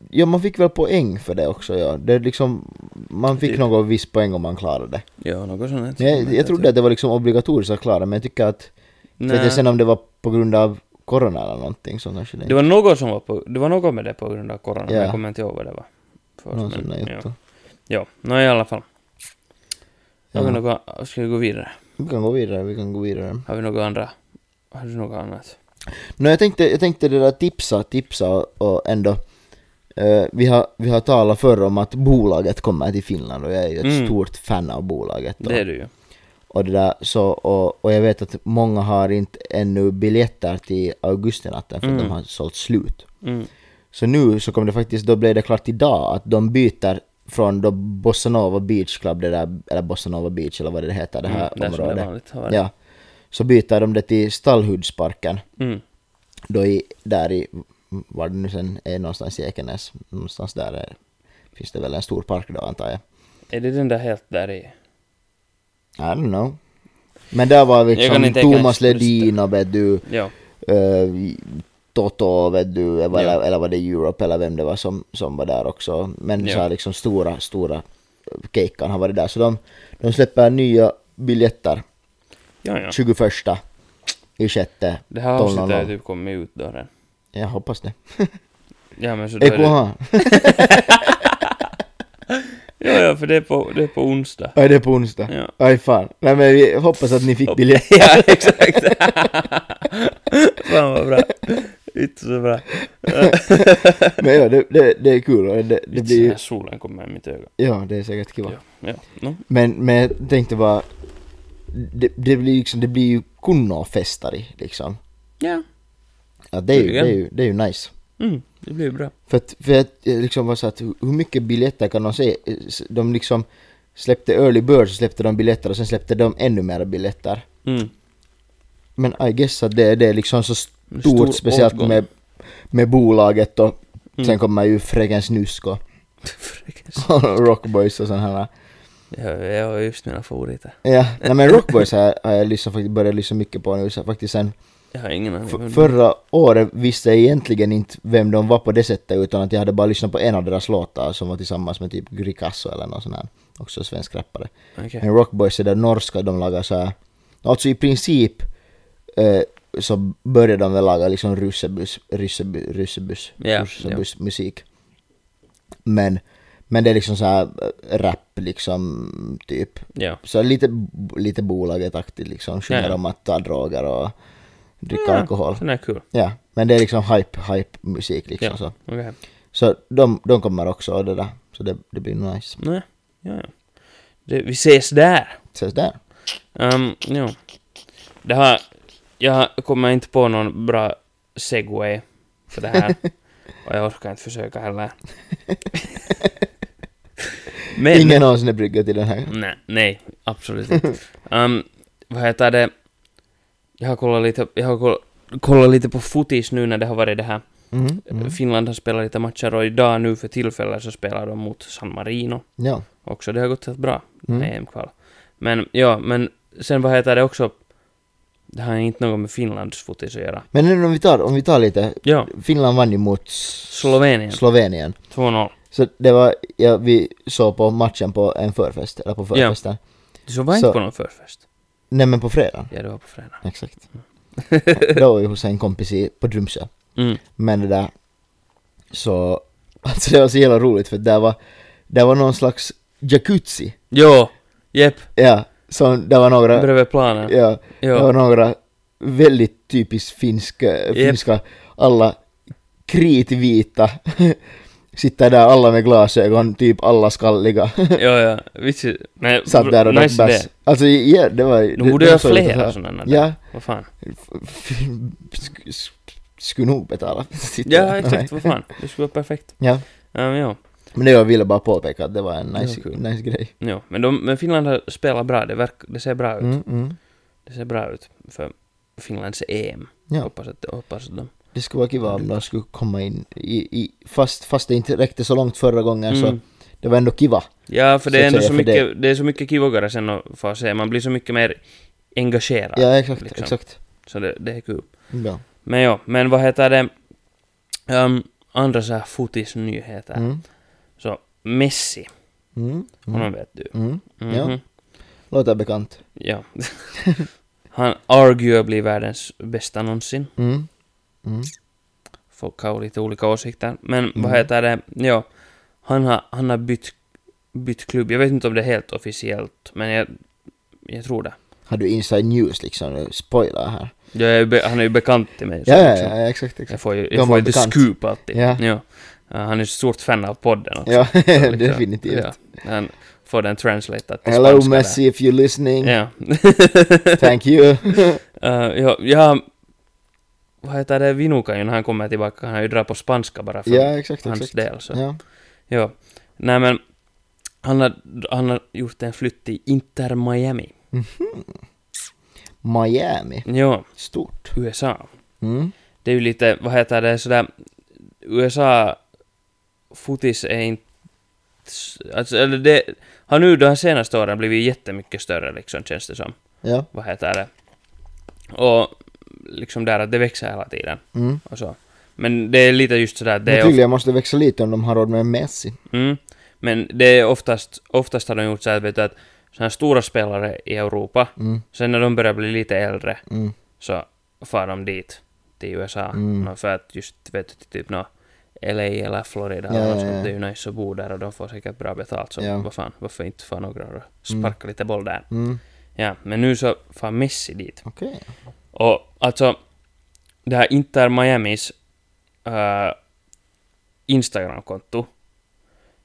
[SPEAKER 3] Ja, man fick väl poäng för det också, ja. Det är liksom, man fick
[SPEAKER 2] Typ.
[SPEAKER 3] någon viss poäng om man klarade det.
[SPEAKER 2] Ja, något sånt.
[SPEAKER 3] Men jag, jag trodde att det var liksom obligatoriskt att klara, men jag tycker att...
[SPEAKER 2] Nej.
[SPEAKER 3] Vet jag sen om det var på grund av corona eller någonting så kanske det
[SPEAKER 2] Det
[SPEAKER 3] inte
[SPEAKER 2] var något som var på, det var något med det på grund av corona, men
[SPEAKER 3] Ja.
[SPEAKER 2] jag kommer inte ihåg vad det var. För,
[SPEAKER 3] någon sån där
[SPEAKER 2] ja.
[SPEAKER 3] jotto.
[SPEAKER 2] ja, no, i alla fall. Har vi
[SPEAKER 3] Ja.
[SPEAKER 2] något, ska vi gå vidare?
[SPEAKER 3] Vi kan gå vidare, vi kan gå vidare.
[SPEAKER 2] Har vi något andra? Har du något annat?
[SPEAKER 3] No, jag, tänkte, jag tänkte det där tipsa, tipsa och, och ändå. eh, vi, har, vi har talat förr om att bolaget kommer till Finland och jag är ju ett
[SPEAKER 2] Mm.
[SPEAKER 3] stort fan av bolaget. Och,
[SPEAKER 2] Det är du ju.
[SPEAKER 3] och, det där, så, och, och jag vet att många har inte ännu biljetter till augustinatten för att de har sålt slut.
[SPEAKER 2] Mm.
[SPEAKER 3] Så nu så kom det faktiskt, då blev det klart idag att de byter från då Bossa Nova Beach Club, det där, eller Bossa Nova Beach eller vad det heter, det här
[SPEAKER 2] Mm, där som det
[SPEAKER 3] området.
[SPEAKER 2] vanligt har varit.
[SPEAKER 3] ja. Så byter de det till Stallhudsparken
[SPEAKER 2] Mm.
[SPEAKER 3] då i, där i, var det nu sen är någonstans i Ekenäs, någonstans där är, finns det väl en stor park då antar jag.
[SPEAKER 2] Är det den där helt där i?
[SPEAKER 3] I don't know. Men där var
[SPEAKER 2] Jag kan
[SPEAKER 3] liksom
[SPEAKER 2] inte Ekenäs,
[SPEAKER 3] Thomas Ledin och vet du,
[SPEAKER 2] Ja.
[SPEAKER 3] eh, Toto vet du, eller,
[SPEAKER 2] Ja.
[SPEAKER 3] eller var det Europe eller vem det var som, som var där också. Men så
[SPEAKER 2] Ja.
[SPEAKER 3] här liksom stora, stora Keikan har varit där. Så de, de släpper nya biljetter
[SPEAKER 2] Ja, ja.
[SPEAKER 3] 21 i sjätte.
[SPEAKER 2] Det här avsnittet har
[SPEAKER 3] 12.00.
[SPEAKER 2] ju typ kommit ut då redan.
[SPEAKER 3] Jag hoppas det.
[SPEAKER 2] Ja, men så då är det...
[SPEAKER 3] Ekohan!
[SPEAKER 2] Ja, ja, för det är på, det är på onsdag.
[SPEAKER 3] Aj, det är på onsdag.
[SPEAKER 2] Ja.
[SPEAKER 3] Aj fan. Nej men vi hoppas att ni fick biljetter.
[SPEAKER 2] Ja, exakt. Fan vad bra. Inte så bra.
[SPEAKER 3] Men ja, det, det, det är kul och det, det
[SPEAKER 2] Inte
[SPEAKER 3] blir
[SPEAKER 2] så
[SPEAKER 3] ju...
[SPEAKER 2] här solen kommer i mitt öga.
[SPEAKER 3] Ja, det är säkert kul.
[SPEAKER 2] Ja, ja. No.
[SPEAKER 3] Men, men jag tänkte bara... Det, det blir liksom, det blir ju kunnofestar i liksom.
[SPEAKER 2] ja.
[SPEAKER 3] Ja, det är ju, det
[SPEAKER 2] Tydligen.
[SPEAKER 3] är ju, det är ju nice.
[SPEAKER 2] Mm, det blir bra.
[SPEAKER 3] För att, för att jag liksom var så att hur hur mycket biljetter kan de se? De liksom släppte early bird så släppte de biljetter och sen släppte de ännu mer biljetter.
[SPEAKER 2] Mm.
[SPEAKER 3] Men I guess att det, det är liksom så stort,
[SPEAKER 2] Stor
[SPEAKER 3] speciellt
[SPEAKER 2] åtgång.
[SPEAKER 3] med, med bolaget och
[SPEAKER 2] Mm.
[SPEAKER 3] sen kommer ju Frägens Nusk och
[SPEAKER 2] Fräckis.
[SPEAKER 3] Rockboys och sådana här.
[SPEAKER 2] Jag, jag har just mina favoriter.
[SPEAKER 3] Ja, nej men Rockboys har har jag liksom faktiskt börjat lyssna mycket på nu så faktiskt sen
[SPEAKER 2] Jag har ingen aning.
[SPEAKER 3] f-
[SPEAKER 2] om-
[SPEAKER 3] förra året visste jag egentligen inte vem de var på det sättet utan att jag hade bara lyssnat på en av deras låtar som var tillsammans med typ Gricasso eller någon sån här, också svensk rappare.
[SPEAKER 2] Okej.
[SPEAKER 3] Men Rockboys är där norska, de lagar så här, alltså i princip eh, så började de väl laga liksom russebuss, rysseby, russebuss,
[SPEAKER 2] Ja,
[SPEAKER 3] russebuss musik. Men, men det är liksom så här eh, rap liksom typ.
[SPEAKER 2] Ja.
[SPEAKER 3] Så lite, lite bolagetaktigt liksom, sjunger
[SPEAKER 2] Ja, ja.
[SPEAKER 3] om att ta droger och dricka alkohol.
[SPEAKER 2] Sån är kul.
[SPEAKER 3] Ja, men det är liksom hype, hype musik liksom
[SPEAKER 2] Ja.
[SPEAKER 3] så.
[SPEAKER 2] Okej.
[SPEAKER 3] Så de, de kommer också och det där, så det, det blir nice.
[SPEAKER 2] Nej. Ja, ja. Det, vi ses där.
[SPEAKER 3] Ses där.
[SPEAKER 2] Um, ja. Det här... Jag kommer inte på någon bra segway för det här. Och jag orkar inte försöka heller. Men...
[SPEAKER 3] Ingen någonsin är brygga till den här.
[SPEAKER 2] Nej, nej, absolut inte. Ehm, vad heter det? Jag har kollat lite, jag har koll- kollat lite på fotis nu när det har varit det här
[SPEAKER 3] Mm, mm.
[SPEAKER 2] Finland har spelat lite matcher och idag nu för tillfället så spelar de mot San Marino
[SPEAKER 3] Ja.
[SPEAKER 2] också. Det har gått helt bra
[SPEAKER 3] Mm.
[SPEAKER 2] med EM-kval. Men ja, men sen vad heter det också? Det har inte något med Finlands fotis att göra.
[SPEAKER 3] Men nu om vi tar, om vi tar lite,
[SPEAKER 2] Ja,
[SPEAKER 3] Finland vann ju mot
[SPEAKER 2] Slovenien.
[SPEAKER 3] Slovenien.
[SPEAKER 2] 2-0.
[SPEAKER 3] Så det var, ja, vi såg på matchen på en förfest, eller på förfesten.
[SPEAKER 2] Så var inte
[SPEAKER 3] Så-
[SPEAKER 2] på någon förfest.
[SPEAKER 3] Nej men på fredagen.
[SPEAKER 2] Ja, det var på fredag.
[SPEAKER 3] Exakt. Då var vi hos en kompis i, på Drumsö.
[SPEAKER 2] Mm.
[SPEAKER 3] Men det där, så, alltså det var så jävla roligt för där var, där var någon slags jacuzzi.
[SPEAKER 2] Jo, jepp,
[SPEAKER 3] Ja, så där var några,
[SPEAKER 2] bredvid planen.
[SPEAKER 3] ja, det var
[SPEAKER 2] Jo,
[SPEAKER 3] några väldigt typiskt finska, finska alla kritvita sitter där alla med glasögon, typ alla skalliga.
[SPEAKER 2] jo, ja. Vitsi, nej,
[SPEAKER 3] Satt där och
[SPEAKER 2] nice
[SPEAKER 3] nice
[SPEAKER 2] idé.
[SPEAKER 3] Alltså ja, det var... det-
[SPEAKER 2] De borde
[SPEAKER 3] det
[SPEAKER 2] göra
[SPEAKER 3] såg ut att ha-
[SPEAKER 2] flera sådana där.
[SPEAKER 3] Ja,
[SPEAKER 2] Vad fan.
[SPEAKER 3] f- f- sk- sk- skulle nog betala. Sitter där.
[SPEAKER 2] Ja, exakt, vad
[SPEAKER 3] Nej.
[SPEAKER 2] fan. Det skulle vara perfekt.
[SPEAKER 3] Ja,
[SPEAKER 2] Ja, men ja.
[SPEAKER 3] men det jag ville bara påpeka att det var en nice,
[SPEAKER 2] Ja, kul.
[SPEAKER 3] nice grej.
[SPEAKER 2] ja. Men, de, men Finland har spelat bra, det, verk, det ser bra ut.
[SPEAKER 3] Mm, mm.
[SPEAKER 2] Det ser bra ut för Finlands EM.
[SPEAKER 3] Ja,
[SPEAKER 2] Hoppas att, hoppas att de...
[SPEAKER 3] det skulle vara kul om de skulle komma in i, i fast, fast det inte räckte så långt förra gången så
[SPEAKER 2] Mm.
[SPEAKER 3] det var ändå kiva.
[SPEAKER 2] Ja, för
[SPEAKER 3] Så
[SPEAKER 2] det är ändå
[SPEAKER 3] att säga,
[SPEAKER 2] så
[SPEAKER 3] för
[SPEAKER 2] mycket, det... är så mycket kivogare sen att få se. Man blir så mycket mer engagerad.
[SPEAKER 3] Ja, exakt,
[SPEAKER 2] liksom.
[SPEAKER 3] exakt.
[SPEAKER 2] Så det, det är kul.
[SPEAKER 3] Ja.
[SPEAKER 2] Men ja, men vad heter det? Ehm, andra så här fotisnyheter.
[SPEAKER 3] Mm.
[SPEAKER 2] Så Messi,
[SPEAKER 3] Mm.
[SPEAKER 2] honom
[SPEAKER 3] Mm.
[SPEAKER 2] vet du.
[SPEAKER 3] Mm.
[SPEAKER 2] Mhm.
[SPEAKER 3] Ja. Låter bekant.
[SPEAKER 2] ja. Han arguably världens bästa någonsin.
[SPEAKER 3] Mm. Mm.
[SPEAKER 2] folk har lite olika åsikter. Men
[SPEAKER 3] Mm.
[SPEAKER 2] vad heter det, ja, han har, han har bytt, bytt klubb. Jag vet inte om det är helt officiellt, men jag, jag tror det.
[SPEAKER 3] Har du inside news liksom? nu? Spoiler här.
[SPEAKER 2] Jag är be, han är ju bekant till mig. så
[SPEAKER 3] Ja, ja,
[SPEAKER 2] liksom.
[SPEAKER 3] ja, ja, exakt, exakt.
[SPEAKER 2] Jag får ju
[SPEAKER 3] De
[SPEAKER 2] jag får
[SPEAKER 3] var
[SPEAKER 2] ju lite
[SPEAKER 3] bekant.
[SPEAKER 2] scoop alltid.
[SPEAKER 3] Ja.
[SPEAKER 2] Ja. Uh, han är ett stort fan av podden också.
[SPEAKER 3] Ja,
[SPEAKER 2] Så liksom,
[SPEAKER 3] definitivt.
[SPEAKER 2] Ja. Han får den translated till
[SPEAKER 3] Hello
[SPEAKER 2] spanska där.
[SPEAKER 3] Messi if you're listening,
[SPEAKER 2] Ja.
[SPEAKER 3] thank you.
[SPEAKER 2] Uh, ja, ja, vad heter det, Vinuka ju när han kommer tillbaka, han har ju dragit på spanska bara för
[SPEAKER 3] ja, exakt,
[SPEAKER 2] hans
[SPEAKER 3] exakt.
[SPEAKER 2] del. Så.
[SPEAKER 3] Ja.
[SPEAKER 2] Ja. Nej men, han har, han har gjort en flytt till Inter Miami.
[SPEAKER 3] Miami,
[SPEAKER 2] Ja,
[SPEAKER 3] stort.
[SPEAKER 2] USA.
[SPEAKER 3] Mm.
[SPEAKER 2] Det är ju lite, vad heter det, sådär, USA fotis är inte, s- alltså, eller det, har nu de senaste åren blivit jättemycket större liksom, känns det som.
[SPEAKER 3] Ja.
[SPEAKER 2] Vad heter det? Och liksom där att det växer hela tiden
[SPEAKER 3] Mm.
[SPEAKER 2] och så. Men det är lite just sådär, det
[SPEAKER 3] Men
[SPEAKER 2] är ofta,
[SPEAKER 3] tydligen måste det växa lite om de har råd med Messi.
[SPEAKER 2] mm, men det är oftast, oftast har de gjort så här, vet du, att sådana här stora spelare i Europa
[SPEAKER 3] Mm.
[SPEAKER 2] Sen när de börjar bli lite äldre
[SPEAKER 3] Mm.
[SPEAKER 2] så far de dit till USA.
[SPEAKER 3] Mm.
[SPEAKER 2] Nå, för att just vet du, typ nå, LA eller Florida
[SPEAKER 3] Ja,
[SPEAKER 2] eller
[SPEAKER 3] ja,
[SPEAKER 2] något sånt.
[SPEAKER 3] ja.
[SPEAKER 2] Det är ju nice att bo där och de får säkert bra betalt. Så
[SPEAKER 3] Ja.
[SPEAKER 2] vad fan, varför inte få några och sparka lite boll där.
[SPEAKER 3] Mm.
[SPEAKER 2] Ja, men nu så far Messi dit.
[SPEAKER 3] Okej.
[SPEAKER 2] Och alltså, det här Inter Miamis äh, Instagramkonto.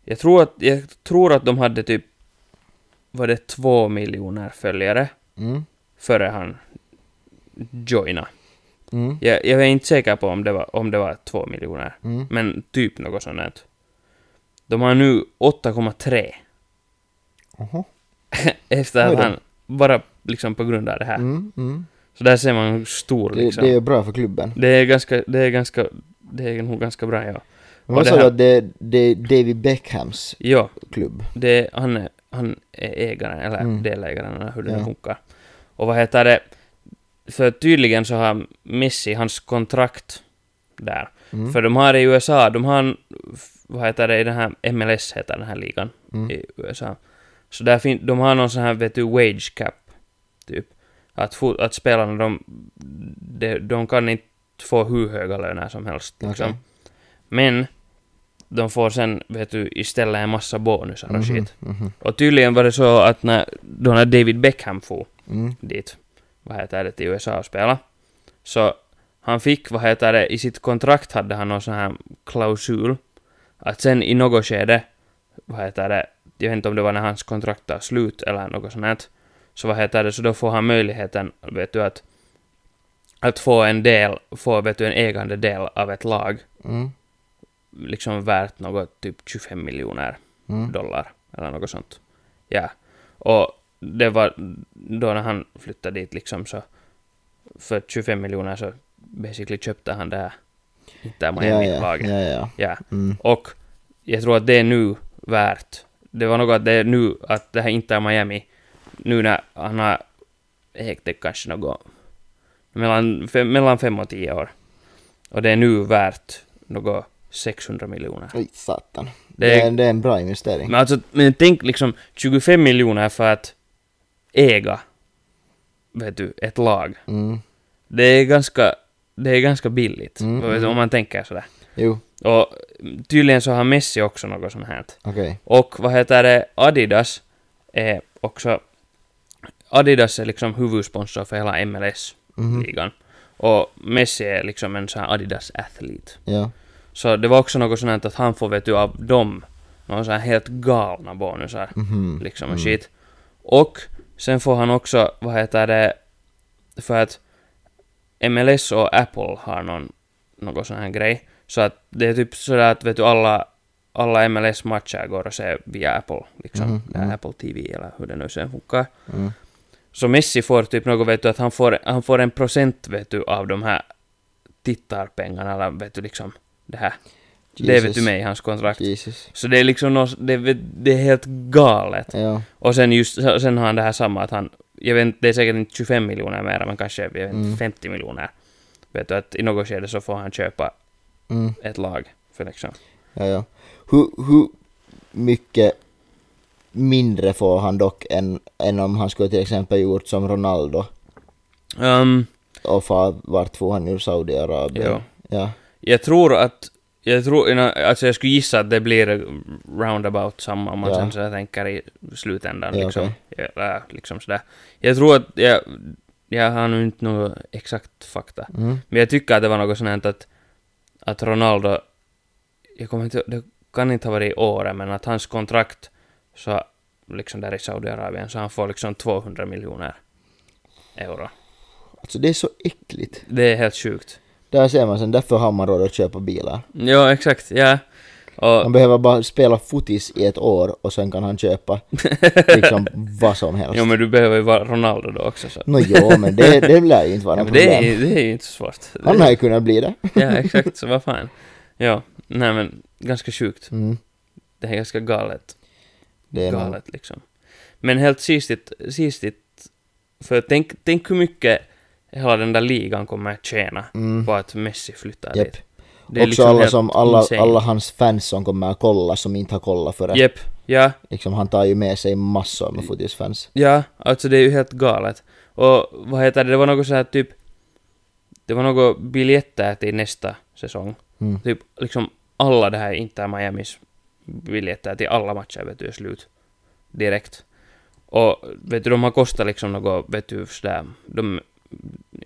[SPEAKER 2] Jag tror, att, jag tror att de hade typ, var det två miljoner följare?
[SPEAKER 3] Mm.
[SPEAKER 2] före han joina.
[SPEAKER 3] Mm.
[SPEAKER 2] Jag, jag är inte säker på om det var, om det var två miljoner,
[SPEAKER 3] Mm.
[SPEAKER 2] men typ något sånt. där. De har nu 8,3
[SPEAKER 3] Oho.
[SPEAKER 2] efter
[SPEAKER 3] Oj
[SPEAKER 2] att
[SPEAKER 3] då.
[SPEAKER 2] han, bara liksom på grund av det här.
[SPEAKER 3] Mm. Mm.
[SPEAKER 2] Så där ser man hur stor
[SPEAKER 3] Det,
[SPEAKER 2] liksom.
[SPEAKER 3] det är bra för klubben.
[SPEAKER 2] ganska, det är ganska, det är nog ganska bra ja. Och
[SPEAKER 3] Men vad
[SPEAKER 2] det
[SPEAKER 3] sa du
[SPEAKER 2] här-
[SPEAKER 3] att det, det är David Beckhams
[SPEAKER 2] Ja,
[SPEAKER 3] klubb?
[SPEAKER 2] det, han, är, han är ägaren, eller
[SPEAKER 3] Mm.
[SPEAKER 2] delägaren, eller hur det nu
[SPEAKER 3] Ja.
[SPEAKER 2] funkar. Och vad heter det? För tydligen så har Messi, hans kontrakt där,
[SPEAKER 3] Mm.
[SPEAKER 2] För de har i USA, de har en, f- vad heter det, i den här MLS heter den här ligan
[SPEAKER 3] Mm.
[SPEAKER 2] i USA. Så där fin, de har någon sån här, vet du, wage cap, typ. Att, fot, att spelarna, de, de, de kan inte få hur höga löner som helst, liksom.
[SPEAKER 3] Okej.
[SPEAKER 2] Men, de får sen, vet du, istället en massa bonusar och
[SPEAKER 3] Mhm,
[SPEAKER 2] shit.
[SPEAKER 3] mhm,
[SPEAKER 2] Och tydligen var det så att när, då när David Beckham for
[SPEAKER 3] mm.
[SPEAKER 2] dit, vad heter det, till USA och spela. Så han fick, vad heter det, i sitt kontrakt hade han någon sån här klausul. Att sen i något skede, vad heter det, jag vet inte om det var när hans kontrakt tar slut eller något sånt här. Så vad heter det, så då får han möjligheten, vet du, att att få en del, få vet du, en ägande del av ett lag,
[SPEAKER 3] Mm.
[SPEAKER 2] liksom värt något typ 25 miljoner
[SPEAKER 3] Mm.
[SPEAKER 2] dollar eller något sånt. Ja. Och det var då när han flyttade dit liksom så för 25 miljoner så basically köpte han det här hittar man
[SPEAKER 3] ja,
[SPEAKER 2] hem i
[SPEAKER 3] ja,
[SPEAKER 2] laget.
[SPEAKER 3] ja, ja.
[SPEAKER 2] Ja.
[SPEAKER 3] Mm.
[SPEAKER 2] Och jag tror att det är nu värt. Det var något att det är nu, att det här inte är Miami. Nu när han har häktet kanske något mellan fem, mellan fem och tio år. Och det är nu värt något 600 miljoner.
[SPEAKER 3] Oj, satan.
[SPEAKER 2] Det
[SPEAKER 3] Det
[SPEAKER 2] är-
[SPEAKER 3] är, det är en bra investering.
[SPEAKER 2] Men alltså, men tänk liksom 25 miljoner för att äga, vet du, ett lag.
[SPEAKER 3] Mm.
[SPEAKER 2] Det är ganska, det är ganska billigt,
[SPEAKER 3] Mm,
[SPEAKER 2] vet du, om man tänker sådär.
[SPEAKER 3] Jo,
[SPEAKER 2] Och tydligen så har Messi också något sånt här.
[SPEAKER 3] okej.
[SPEAKER 2] Och vad heter det, Adidas är också... Adidas är liksom huvudsponsor för hela
[SPEAKER 3] Mhm.
[SPEAKER 2] MLS-ligan. Och Messi är liksom en sån här Adidas-athlete.
[SPEAKER 3] Ja.
[SPEAKER 2] Så det var också något sånt här att han får vet du av dem någon sån här helt galna bonusar.
[SPEAKER 3] Mhm.
[SPEAKER 2] Liksom och shit. Och sen får han också, vad heter det, för att MLS och Apple har någon, någon sån här grej. Så att det är typ sådär att vet du alla, alla MLS-matcher går att se via Apple, liksom.
[SPEAKER 3] Mhm,
[SPEAKER 2] Det här
[SPEAKER 3] mhm.
[SPEAKER 2] Apple TV eller hur det nu sen funkar.
[SPEAKER 3] Mm.
[SPEAKER 2] Så Messi får typ något, vet du, att han får, han får en procent, vet du, av de här tittarpengarna, eller vet du, liksom det här. Det vet
[SPEAKER 3] Jesus.
[SPEAKER 2] du med i hans kontrakt.
[SPEAKER 3] Jesus.
[SPEAKER 2] Så det är liksom något, det, är- det är helt galet.
[SPEAKER 3] Ja.
[SPEAKER 2] Och sen just, sen har han det här samma att han, jag vet inte, det är säkert inte 25 miljoner mer, men kanske jag vet, inte,
[SPEAKER 3] Mm.
[SPEAKER 2] 50 miljoner. Vet du, att i något skede så får han köpa
[SPEAKER 3] Mm.
[SPEAKER 2] ett lag för liksom.
[SPEAKER 3] Ja, ja. Hur, hur mycket mindre får han dock än, än om han skulle till exempel gjort som Ronaldo
[SPEAKER 2] Ehm,
[SPEAKER 3] och far, vart får han ur Saudiarabien?
[SPEAKER 2] Jo.
[SPEAKER 3] Ja.
[SPEAKER 2] jag tror att, jag tror, you know, alltså jag skulle gissa att det blir roundabout samma om man
[SPEAKER 3] Ja.
[SPEAKER 2] sen så här tänker i slutändan
[SPEAKER 3] Ja,
[SPEAKER 2] liksom. Eller, liksom sådär. Jag tror att, jag, jag har nu inte något exakt fakta.
[SPEAKER 3] Mm.
[SPEAKER 2] Men jag tycker att det var något sånt här att, att Ronaldo, jag kommer inte det kan inte ha varit i år, men att hans kontrakt så liksom där i Saudiarabien, så han får liksom 200 miljoner euro.
[SPEAKER 3] Alltså det är så äckligt.
[SPEAKER 2] Det är helt sjukt.
[SPEAKER 3] Där ser man sen, därför har man råd att köpa bilar.
[SPEAKER 2] Ja, exakt, ja. Och,
[SPEAKER 3] Han behöver bara spela fotis i ett år och sen kan han köpa liksom vad som helst.
[SPEAKER 2] jo, men du behöver ju vara Ronaldo då också så.
[SPEAKER 3] Nå jo, men det, det lär ju inte vara
[SPEAKER 2] Ja,
[SPEAKER 3] något
[SPEAKER 2] men det,
[SPEAKER 3] Mm, problem.
[SPEAKER 2] är, det är ju inte så svårt.
[SPEAKER 3] Han har ju kunnat bli det.
[SPEAKER 2] Ja, exakt, så vad fan. Ja, nej men ganska sjukt.
[SPEAKER 3] Mm.
[SPEAKER 2] Det är ganska galet.
[SPEAKER 3] Det är nog-
[SPEAKER 2] galet liksom. Men helt sistigt, sistigt för tänk, tänk hur mycket hela den där ligan kommer att tjäna
[SPEAKER 3] Mm.
[SPEAKER 2] på att Messi flyttar
[SPEAKER 3] Japp.
[SPEAKER 2] dit. liksom
[SPEAKER 3] Också alla,
[SPEAKER 2] helt
[SPEAKER 3] som, alla,
[SPEAKER 2] insane.
[SPEAKER 3] alla hans fans som kommer att kolla som inte har kollat förrän.
[SPEAKER 2] Japp, ja,
[SPEAKER 3] Liksom, han tar ju med sig massor med fotisfans.
[SPEAKER 2] ja, alltså det är ju helt galet. Och vad heter det, det var något så här typ, det var något biljetter till nästa säsong.
[SPEAKER 3] Mm.
[SPEAKER 2] Typ liksom alla det här Inter Miamis biljetter till alla matcher vet du är slut. Direkt. Och vet du, de har kostat liksom något, vet du, sådär, de,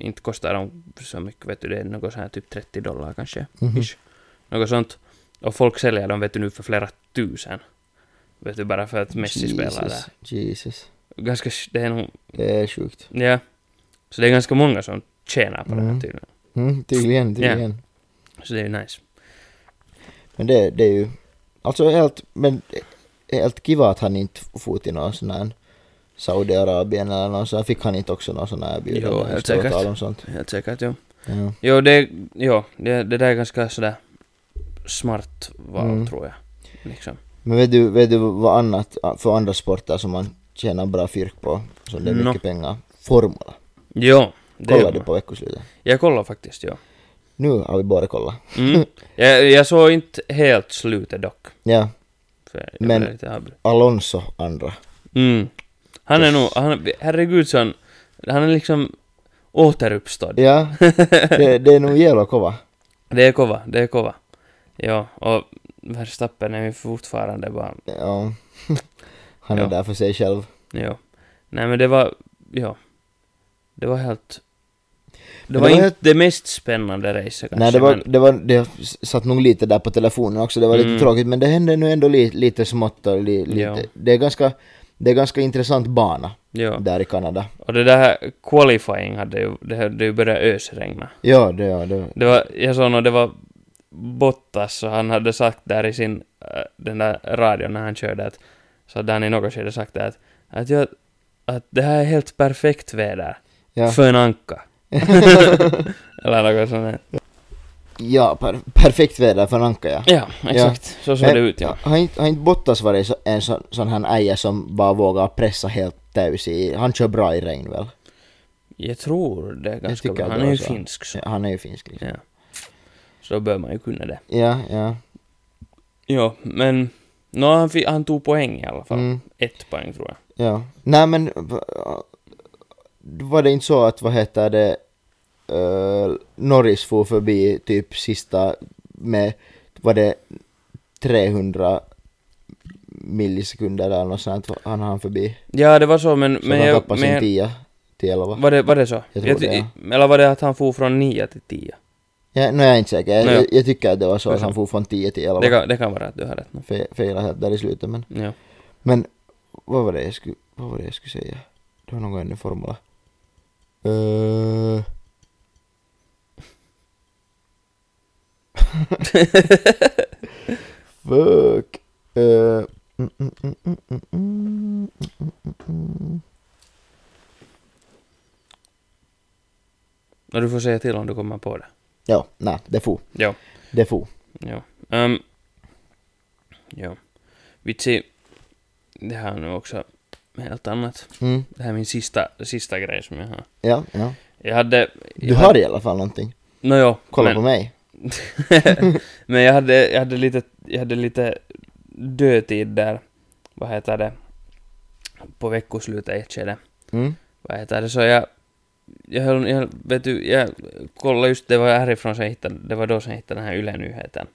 [SPEAKER 2] inte kostar de så mycket, vet du, det är något sånt här typ 30 dollar kanske,
[SPEAKER 3] Mhm.
[SPEAKER 2] ish. Något sånt. Och folk säljer dem, vet du, nu för flera tusen. Vet du, bara för att Messi spelar där.
[SPEAKER 3] Jesus, Jesus.
[SPEAKER 2] Ganska, s- det är nog,
[SPEAKER 3] Det är sjukt.
[SPEAKER 2] ja. Så det är ganska många som tjänar på det här
[SPEAKER 3] Mm.
[SPEAKER 2] tydligen.
[SPEAKER 3] Mm, tydligen, tydligen.
[SPEAKER 2] Så det är ju nice.
[SPEAKER 3] Men det, det är ju... Alltså helt... Men helt kiva att han inte for till någon sån här Saudiarabien eller någon sån här. Fick han inte också någon sån här erbjudande?
[SPEAKER 2] Jo, helt
[SPEAKER 3] Står och
[SPEAKER 2] säkert.
[SPEAKER 3] talar om sånt.
[SPEAKER 2] Helt säkert, jo.
[SPEAKER 3] Ja.
[SPEAKER 2] Jo, det, jo, det, det där är ganska sådär smart val,
[SPEAKER 3] Mm.
[SPEAKER 2] tror jag. Liksom.
[SPEAKER 3] Men vet du, vet du vad annat för andra sporter som man tjänar bra fyrk på? Som det är
[SPEAKER 2] Nå.
[SPEAKER 3] mycket pengar? Formula.
[SPEAKER 2] Jo. det gör
[SPEAKER 3] Kollar du
[SPEAKER 2] man.
[SPEAKER 3] på veckoslutet?
[SPEAKER 2] Jag kollar faktiskt, jo.
[SPEAKER 3] Nu har vi båda kollat.
[SPEAKER 2] Mm. jag, jag såg inte helt slutet dock.
[SPEAKER 3] Ja,
[SPEAKER 2] För jag
[SPEAKER 3] Men-
[SPEAKER 2] blev lite avbrutt.
[SPEAKER 3] Alonso andra.
[SPEAKER 2] Mm. Han är nog, han, herregud så han, han är liksom återuppstådd.
[SPEAKER 3] Ja, det, det är nog jävla kova.
[SPEAKER 2] Det är kova, det är kova. Ja, och Verstappen är ju fortfarande bara,
[SPEAKER 3] Ja. Han är
[SPEAKER 2] Ja.
[SPEAKER 3] där för sig själv.
[SPEAKER 2] ja. Nej men det var, ja. Det var helt... Det
[SPEAKER 3] Men
[SPEAKER 2] var
[SPEAKER 3] det var
[SPEAKER 2] inte
[SPEAKER 3] helt-
[SPEAKER 2] det mest spännande racet kanske,
[SPEAKER 3] Nej, det var,
[SPEAKER 2] men,
[SPEAKER 3] det var, det satt nog lite där på telefonen också, det var
[SPEAKER 2] Mm.
[SPEAKER 3] lite tråkigt, men det hände nu ändå li, lite smått och li, lite,
[SPEAKER 2] Ja.
[SPEAKER 3] det är ganska, det är ganska intressant bana
[SPEAKER 2] ja.
[SPEAKER 3] där i Kanada.
[SPEAKER 2] Och det där här qualifying hade ju, det hade ju börjat ösregna.
[SPEAKER 3] Ja, det, ja, det,
[SPEAKER 2] Det var, jag såg nog, det var Bottas och han hade sagt där i sin, äh, den där radion när han körde att, så hade han i något skede sagt det att, att jag, att det här är helt perfekt väder
[SPEAKER 3] ja.
[SPEAKER 2] för en anka. Eller något sånt där.
[SPEAKER 3] Ja, per, perfekt väder för en anka ja. Eh,
[SPEAKER 2] Ja, exakt. Så såg
[SPEAKER 3] Men
[SPEAKER 2] det ut ja.
[SPEAKER 3] Har inte, har inte Bottas varit så- en sån, sån här äja som bara vågar pressa helt täys i... Han kör bra i regn väl?
[SPEAKER 2] Jag tror det är ganska
[SPEAKER 3] tycker
[SPEAKER 2] bra.
[SPEAKER 3] att
[SPEAKER 2] Han
[SPEAKER 3] det
[SPEAKER 2] är
[SPEAKER 3] var
[SPEAKER 2] ju
[SPEAKER 3] så.
[SPEAKER 2] finsk så.
[SPEAKER 3] Han är ju finsk liksom.
[SPEAKER 2] Ja. Så då bör man ju kunna det.
[SPEAKER 3] Ja, ja.
[SPEAKER 2] Ja, men... Nå, han, fi- han tog poäng i alla fall.
[SPEAKER 3] Mm.
[SPEAKER 2] Ett poäng tror jag.
[SPEAKER 3] Ja. Nej men... v- Var det inte så att, vad heter det, eh, Norris for förbi typ sista med, var det 300 millisekunder eller något sånt han hann förbi?
[SPEAKER 2] Ja, det var så, men...
[SPEAKER 3] Så
[SPEAKER 2] men
[SPEAKER 3] han
[SPEAKER 2] jag-
[SPEAKER 3] tappade
[SPEAKER 2] men
[SPEAKER 3] sin
[SPEAKER 2] jag-
[SPEAKER 3] 10 till 11.
[SPEAKER 2] Var det, var det så?
[SPEAKER 3] Jag tror det,
[SPEAKER 2] ty- Eller var det att han for från 9 till 10?
[SPEAKER 3] Ja, nu är jag inte säker. Jag,
[SPEAKER 2] Nej.
[SPEAKER 3] jag, jag tycker att det var så
[SPEAKER 2] Det är
[SPEAKER 3] att han for från 10 till 11.
[SPEAKER 2] Det kan, det kan vara att du har rätt nu.
[SPEAKER 3] Fe, fel helt där i slutet men.
[SPEAKER 2] Ja.
[SPEAKER 3] Men vad var det jag skulle, vad var det jag skulle säga? Det var någon i formula. Uh... Fuck. Eh, mm, mm, mm, mm, mm, mm, mm, mm, mm.
[SPEAKER 2] No, du får säga till om du kommer på det.
[SPEAKER 3] Ja, nej, det får.
[SPEAKER 2] Ja.
[SPEAKER 3] Det får.
[SPEAKER 2] Ja. Um, ja. Vitsi, det här är nu också helt annat.
[SPEAKER 3] Mm.
[SPEAKER 2] Det här är min sista, sista grej som jag har.
[SPEAKER 3] Ja, ja.
[SPEAKER 2] Jag hade...
[SPEAKER 3] Du
[SPEAKER 2] jag
[SPEAKER 3] har i alla fall någonting.
[SPEAKER 2] Nåjo,
[SPEAKER 3] Kolla
[SPEAKER 2] men,
[SPEAKER 3] på mig.
[SPEAKER 2] men jag hade, jag hade lite, jag hade lite dödtid där, vad heter det, på veckoslutet i ett skede.
[SPEAKER 3] Mm.
[SPEAKER 2] Vad heter det, så jag, jag höll, jag, vet du, jag kollade just, det var härifrån som jag hittade, det var då som jag hittade den här Yle-nyheten.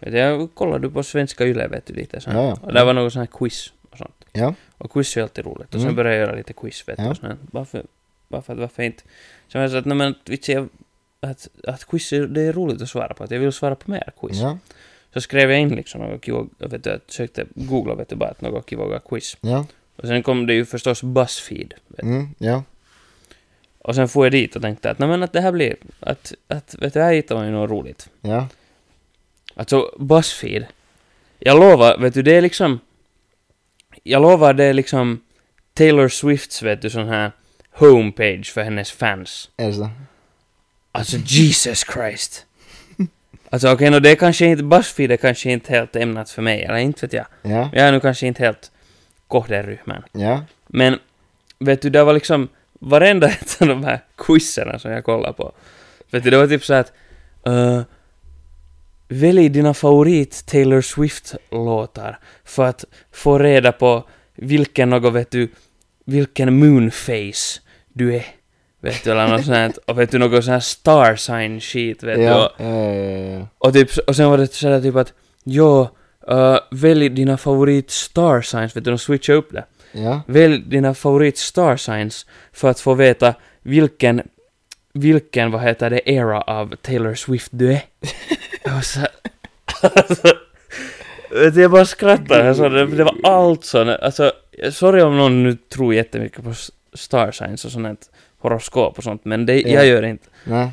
[SPEAKER 2] Vet du, Jag kollade på svenska Yle, vet du, lite så här.
[SPEAKER 3] Ja, ja.
[SPEAKER 2] Och där var något sånt här quiz och sånt.
[SPEAKER 3] Ja.
[SPEAKER 2] Och quiz är ju alltid roligt. Och sen
[SPEAKER 3] Mm.
[SPEAKER 2] började jag göra lite quiz, vet du.
[SPEAKER 3] Ja.
[SPEAKER 2] och sån här. Varför, varför, varför inte? Så jag sa att, nej men vitsi, jag, att, att quiz är, det är roligt att svara på. Att jag vill svara på mer quiz.
[SPEAKER 3] Ja,
[SPEAKER 2] Så skrev jag in liksom något kivoga, vet du, jag försökte googla vet du bara att något kivoga quiz.
[SPEAKER 3] ja.
[SPEAKER 2] Och sen kom det ju förstås Buzzfeed. Vet. du.
[SPEAKER 3] Mm. Ja.
[SPEAKER 2] Och sen får jag dit och tänkte att nej men att det här blir, att, att vet du, här hittar man ju något roligt.
[SPEAKER 3] Ja.
[SPEAKER 2] Alltså Buzzfeed, jag lovar, vet du, det är liksom, jag lovar det är liksom Taylor Swifts, vet du, sån här homepage för hennes fans.
[SPEAKER 3] Är det så?
[SPEAKER 2] Alltså Jesus Christ. Alltså okej, nå det är kanske inte, Buzzfeed är kanske inte helt ämnat för mig, eller inte vet jag.
[SPEAKER 3] Ja.
[SPEAKER 2] Jag är nu kanske inte helt kohderyhmän.
[SPEAKER 3] Ja.
[SPEAKER 2] Men, vet du, det var liksom varenda ett av de här quizerna som jag kollade på. Vet du, det var typ så att eh, Välj dina favorit Taylor Swift-låtar för att få reda på vilken något, vet du, vilken moonface du är. Vet du, eller något sånt här, och vet du, något sånt här star sign shit, vet du.
[SPEAKER 3] ja.
[SPEAKER 2] Och,
[SPEAKER 3] eh,
[SPEAKER 2] och, typ, och sen var det sådär typ att, ja, eh, välj dina favorit star signs, vet du, de switchade upp det.
[SPEAKER 3] ja.
[SPEAKER 2] Välj dina favorit star signs för att få veta vilken, vilken, vad heter det, era av Taylor Swift du är. Jag var så... alltså, vet du, jag bara skrattade. Alltså, det, det var allt sånt. Alltså, sorry om någon nu tror jättemycket på s- star signs och sånt här horoskop och sånt, men det,
[SPEAKER 3] Ja.
[SPEAKER 2] jag gör det inte.
[SPEAKER 3] Nej.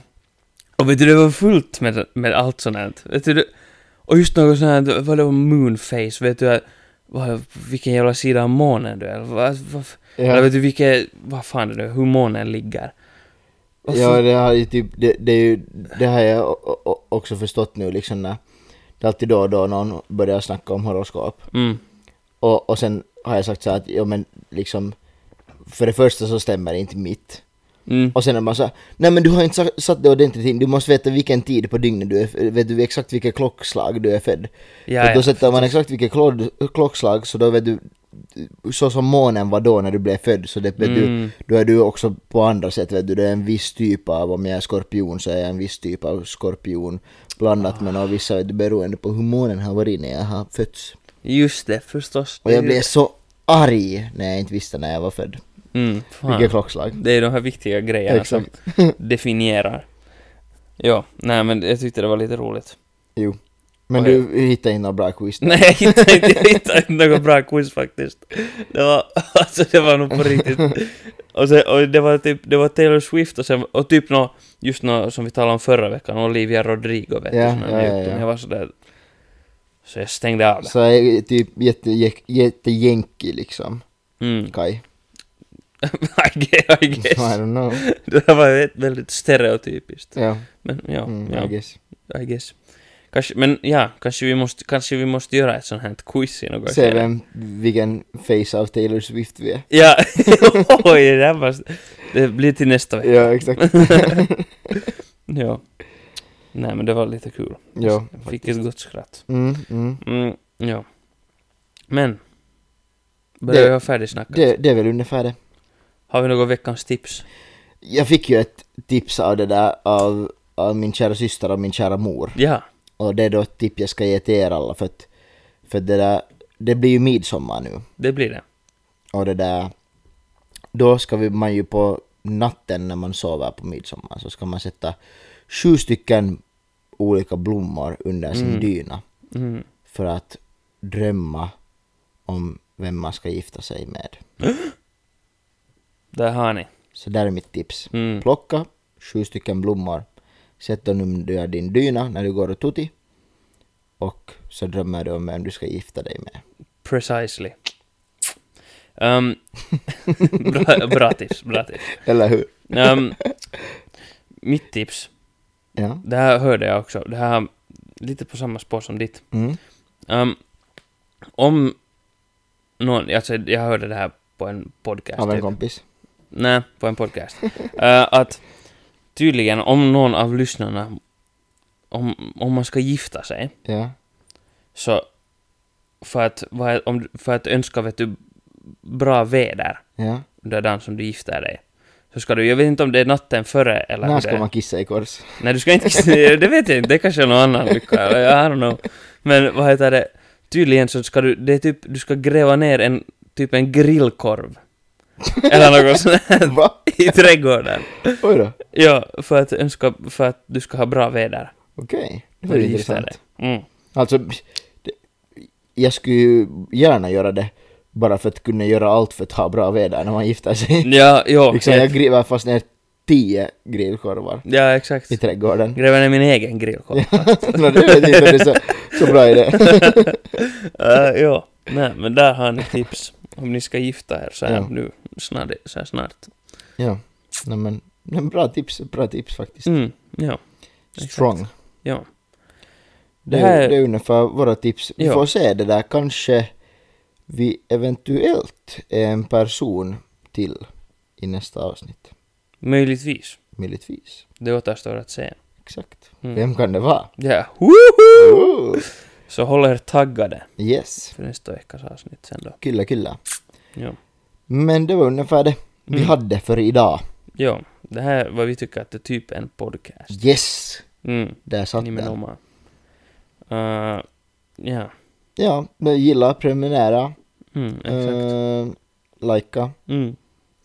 [SPEAKER 2] Och vet du, det var fullt med, med allt sånt här. Vet du, det- och just något sånt här, vad det var, moonface, vet du, vad, vilken jävla sida av månen du är, vad, vad, eller
[SPEAKER 3] Ja.
[SPEAKER 2] vet du vilket, vad fan är det, hur månen ligger? Vad
[SPEAKER 3] Ja,
[SPEAKER 2] fan-
[SPEAKER 3] det har ju typ, det, det är ju, det har jag o- o- också förstått nu liksom när det är alltid då och då någon börjar snacka om horoskop.
[SPEAKER 2] Mm,
[SPEAKER 3] Och, och sen har jag sagt så här att, ja men liksom, för det första så stämmer inte mitt.
[SPEAKER 2] mm,
[SPEAKER 3] Och sen är man så här, nej men du har inte sa- satt det ordentligt in, du måste veta vilken tid på dygnet du är, f- vet du exakt vilket klockslag du är född.
[SPEAKER 2] ja,
[SPEAKER 3] För
[SPEAKER 2] ja,
[SPEAKER 3] då sätter man exakt vilket klod- klockslag, så då vet du, så som månen var då när du blev född, så det vet du
[SPEAKER 2] mm,
[SPEAKER 3] Då är du också på andra sätt, vet du, du är en viss typ av, om jag är skorpion så är jag en viss typ av skorpion blandat med några vissa, vet du, beroende på hur månen har varit när jag har fötts.
[SPEAKER 2] just det, förstås.
[SPEAKER 3] Och jag blev så arg när jag inte visste när jag var född.
[SPEAKER 2] Mm,
[SPEAKER 3] Vilket
[SPEAKER 2] fan.
[SPEAKER 3] klockslag.
[SPEAKER 2] Det är de här viktiga grejerna som definierar. Ja, nej men jag tyckte det var lite roligt.
[SPEAKER 3] Men
[SPEAKER 2] Oj.
[SPEAKER 3] du hittar inte några bra quiz där.
[SPEAKER 2] Nej, jag hittade inte, jag hittade inte något bra quiz faktiskt. Det var, alltså det var nog på riktigt. Och, sen, och det var typ, det var Taylor Swift och sen, och typ nå, just nå som vi talade om förra veckan, Olivia Rodrigo vet
[SPEAKER 3] Ja,
[SPEAKER 2] du, sån
[SPEAKER 3] ja,
[SPEAKER 2] här
[SPEAKER 3] ja,
[SPEAKER 2] njuton.
[SPEAKER 3] ja.
[SPEAKER 2] Jag var sådär, så jag stängde av det.
[SPEAKER 3] Så jag är typ jätte, jättejänki liksom,
[SPEAKER 2] Mm.
[SPEAKER 3] Kai.
[SPEAKER 2] I guess. I
[SPEAKER 3] I
[SPEAKER 2] guess.
[SPEAKER 3] don't know.
[SPEAKER 2] Det här var ju ett väldigt stereotypiskt.
[SPEAKER 3] Ja,
[SPEAKER 2] Men ja,
[SPEAKER 3] mm,
[SPEAKER 2] ja,
[SPEAKER 3] I guess.
[SPEAKER 2] I guess. Kanske, men ja, kanske vi måste, kanske vi måste göra ett sånt här quiz i något
[SPEAKER 3] Se
[SPEAKER 2] skede.
[SPEAKER 3] vem, vilken face av Taylor Swift vi är.
[SPEAKER 2] Ja, oj, det här var... Det blir till nästa vecka.
[SPEAKER 3] Ja, exakt.
[SPEAKER 2] Ja. Nej, men det var lite kul.
[SPEAKER 3] ja.
[SPEAKER 2] Jag fick ett gott skratt.
[SPEAKER 3] Mm, mm.
[SPEAKER 2] Mm, ja. Men. Börjar
[SPEAKER 3] Det-
[SPEAKER 2] vi ha färdigsnackat?
[SPEAKER 3] Det, det är väl ungefär det.
[SPEAKER 2] Har vi något veckans tips?
[SPEAKER 3] Jag fick ju ett tips av det där av, av min kära syster och min kära mor.
[SPEAKER 2] Ja.
[SPEAKER 3] Och det är då ett tips jag ska ge till er alla för att, för att det där, det blir ju midsommar nu.
[SPEAKER 2] Det blir det.
[SPEAKER 3] Och det där, då ska vi, man ju på natten när man sover på midsommar så ska man sätta sju stycken olika blommor under sin dyna
[SPEAKER 2] Mm.
[SPEAKER 3] för att drömma om vem man ska gifta sig med.
[SPEAKER 2] Där har ni.
[SPEAKER 3] Så där är mitt tips.
[SPEAKER 2] Mm.
[SPEAKER 3] Plocka sju stycken blommor, sätt dem under din dyna när du går och tutti och så drömmer du om vem du ska gifta dig med.
[SPEAKER 2] Precisely. Um, bra, bra tips, bra tips.
[SPEAKER 3] Eller hur?
[SPEAKER 2] Um, mitt tips.
[SPEAKER 3] Ja.
[SPEAKER 2] Det här hörde jag också. Det här lite på samma spår som ditt.
[SPEAKER 3] Mm.
[SPEAKER 2] Um, om någon, alltså jag hörde det här på en podcast.
[SPEAKER 3] Av en
[SPEAKER 2] typ.
[SPEAKER 3] kompis.
[SPEAKER 2] Nej, på en podcast. Eh, att tydligen om någon av lyssnarna, om, om man ska gifta sig,
[SPEAKER 3] Ja.
[SPEAKER 2] så för att, vad- om, för att önska vet du, bra väder
[SPEAKER 3] Ja.
[SPEAKER 2] under dagen som du gifter dig, så ska du, jag vet inte om det är natten före eller
[SPEAKER 3] När
[SPEAKER 2] hur
[SPEAKER 3] ska
[SPEAKER 2] det är.
[SPEAKER 3] man kissa i kors?
[SPEAKER 2] Nej, du ska inte det vet jag inte, det kanske är någon annan lycka, eller I don't know. Men vad heter det, tydligen så ska du, det är typ, du ska gräva ner en, typ en grillkorv. Eller något sånt här
[SPEAKER 3] Va?
[SPEAKER 2] i trädgården.
[SPEAKER 3] Oj då.
[SPEAKER 2] Ja, för att önska, för att du ska ha bra väder.
[SPEAKER 3] Okej. Det var
[SPEAKER 2] när
[SPEAKER 3] ju
[SPEAKER 2] du gifter
[SPEAKER 3] intressant.
[SPEAKER 2] dig. Mm.
[SPEAKER 3] Alltså, det, jag skulle ju gärna göra det bara för att kunna göra allt för att ha bra väder när man gifter sig.
[SPEAKER 2] Ja, jo.
[SPEAKER 3] liksom,
[SPEAKER 2] helt-
[SPEAKER 3] jag gräver fast ner tio grillkorvar
[SPEAKER 2] Ja, exakt.
[SPEAKER 3] i trädgården.
[SPEAKER 2] Gräva ner min egen grillkorv.
[SPEAKER 3] Nå, det vet jag inte om det är så, så bra idé.
[SPEAKER 2] uh, ja, nej, men där har ni tips. Om ni ska gifta er så här
[SPEAKER 3] Ja.
[SPEAKER 2] nu, snart, så här snart.
[SPEAKER 3] ja. Nej men, men bra tips, bra tips faktiskt.
[SPEAKER 2] Mm, ja, exakt.
[SPEAKER 3] Strong.
[SPEAKER 2] ja. Det
[SPEAKER 3] Det,
[SPEAKER 2] här
[SPEAKER 3] är,
[SPEAKER 2] är-
[SPEAKER 3] det är ungefär våra tips. Vi
[SPEAKER 2] Ja.
[SPEAKER 3] får se det där, kanske vi eventuellt är en person till i nästa avsnitt.
[SPEAKER 2] Möjligtvis.
[SPEAKER 3] Möjligtvis.
[SPEAKER 2] Det återstår att se.
[SPEAKER 3] Exakt.
[SPEAKER 2] Mm.
[SPEAKER 3] Vem kan det vara?
[SPEAKER 2] Ja, woho!
[SPEAKER 3] Ooh.
[SPEAKER 2] Så håll er taggade
[SPEAKER 3] Yes.
[SPEAKER 2] för nästa veckas avsnitt sen då.
[SPEAKER 3] Kyllä, kyllä.
[SPEAKER 2] Ja.
[SPEAKER 3] Men det var ungefär det vi
[SPEAKER 2] Mm.
[SPEAKER 3] hade för idag.
[SPEAKER 2] ja, det här är vad vi tycker att det är typ en podcast.
[SPEAKER 3] Yes!
[SPEAKER 2] Mm.
[SPEAKER 3] Där satt den.
[SPEAKER 2] Nimenomaan. Uh, ja,
[SPEAKER 3] Ja, men gilla, prenumerera,
[SPEAKER 2] mm, exakt.
[SPEAKER 3] eh, likea,
[SPEAKER 2] Mm,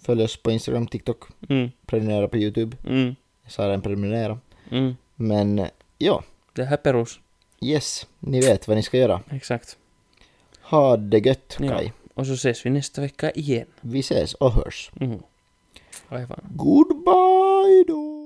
[SPEAKER 3] följ oss på Instagram, TikTok,
[SPEAKER 2] mm,
[SPEAKER 3] prenumerera på YouTube.
[SPEAKER 2] mm,
[SPEAKER 3] Jag sa redan prenumerera.
[SPEAKER 2] mm.
[SPEAKER 3] Men eh, ja,
[SPEAKER 2] Det här perus.
[SPEAKER 3] yes, ni vet vad ni ska göra.
[SPEAKER 2] Exakt.
[SPEAKER 3] Ha det gött,
[SPEAKER 2] Ja.
[SPEAKER 3] Kai.
[SPEAKER 2] Och så ses vi nästa vecka igen.
[SPEAKER 3] Vi ses och hörs.
[SPEAKER 2] Mm. Aivan.
[SPEAKER 3] Goodbye då!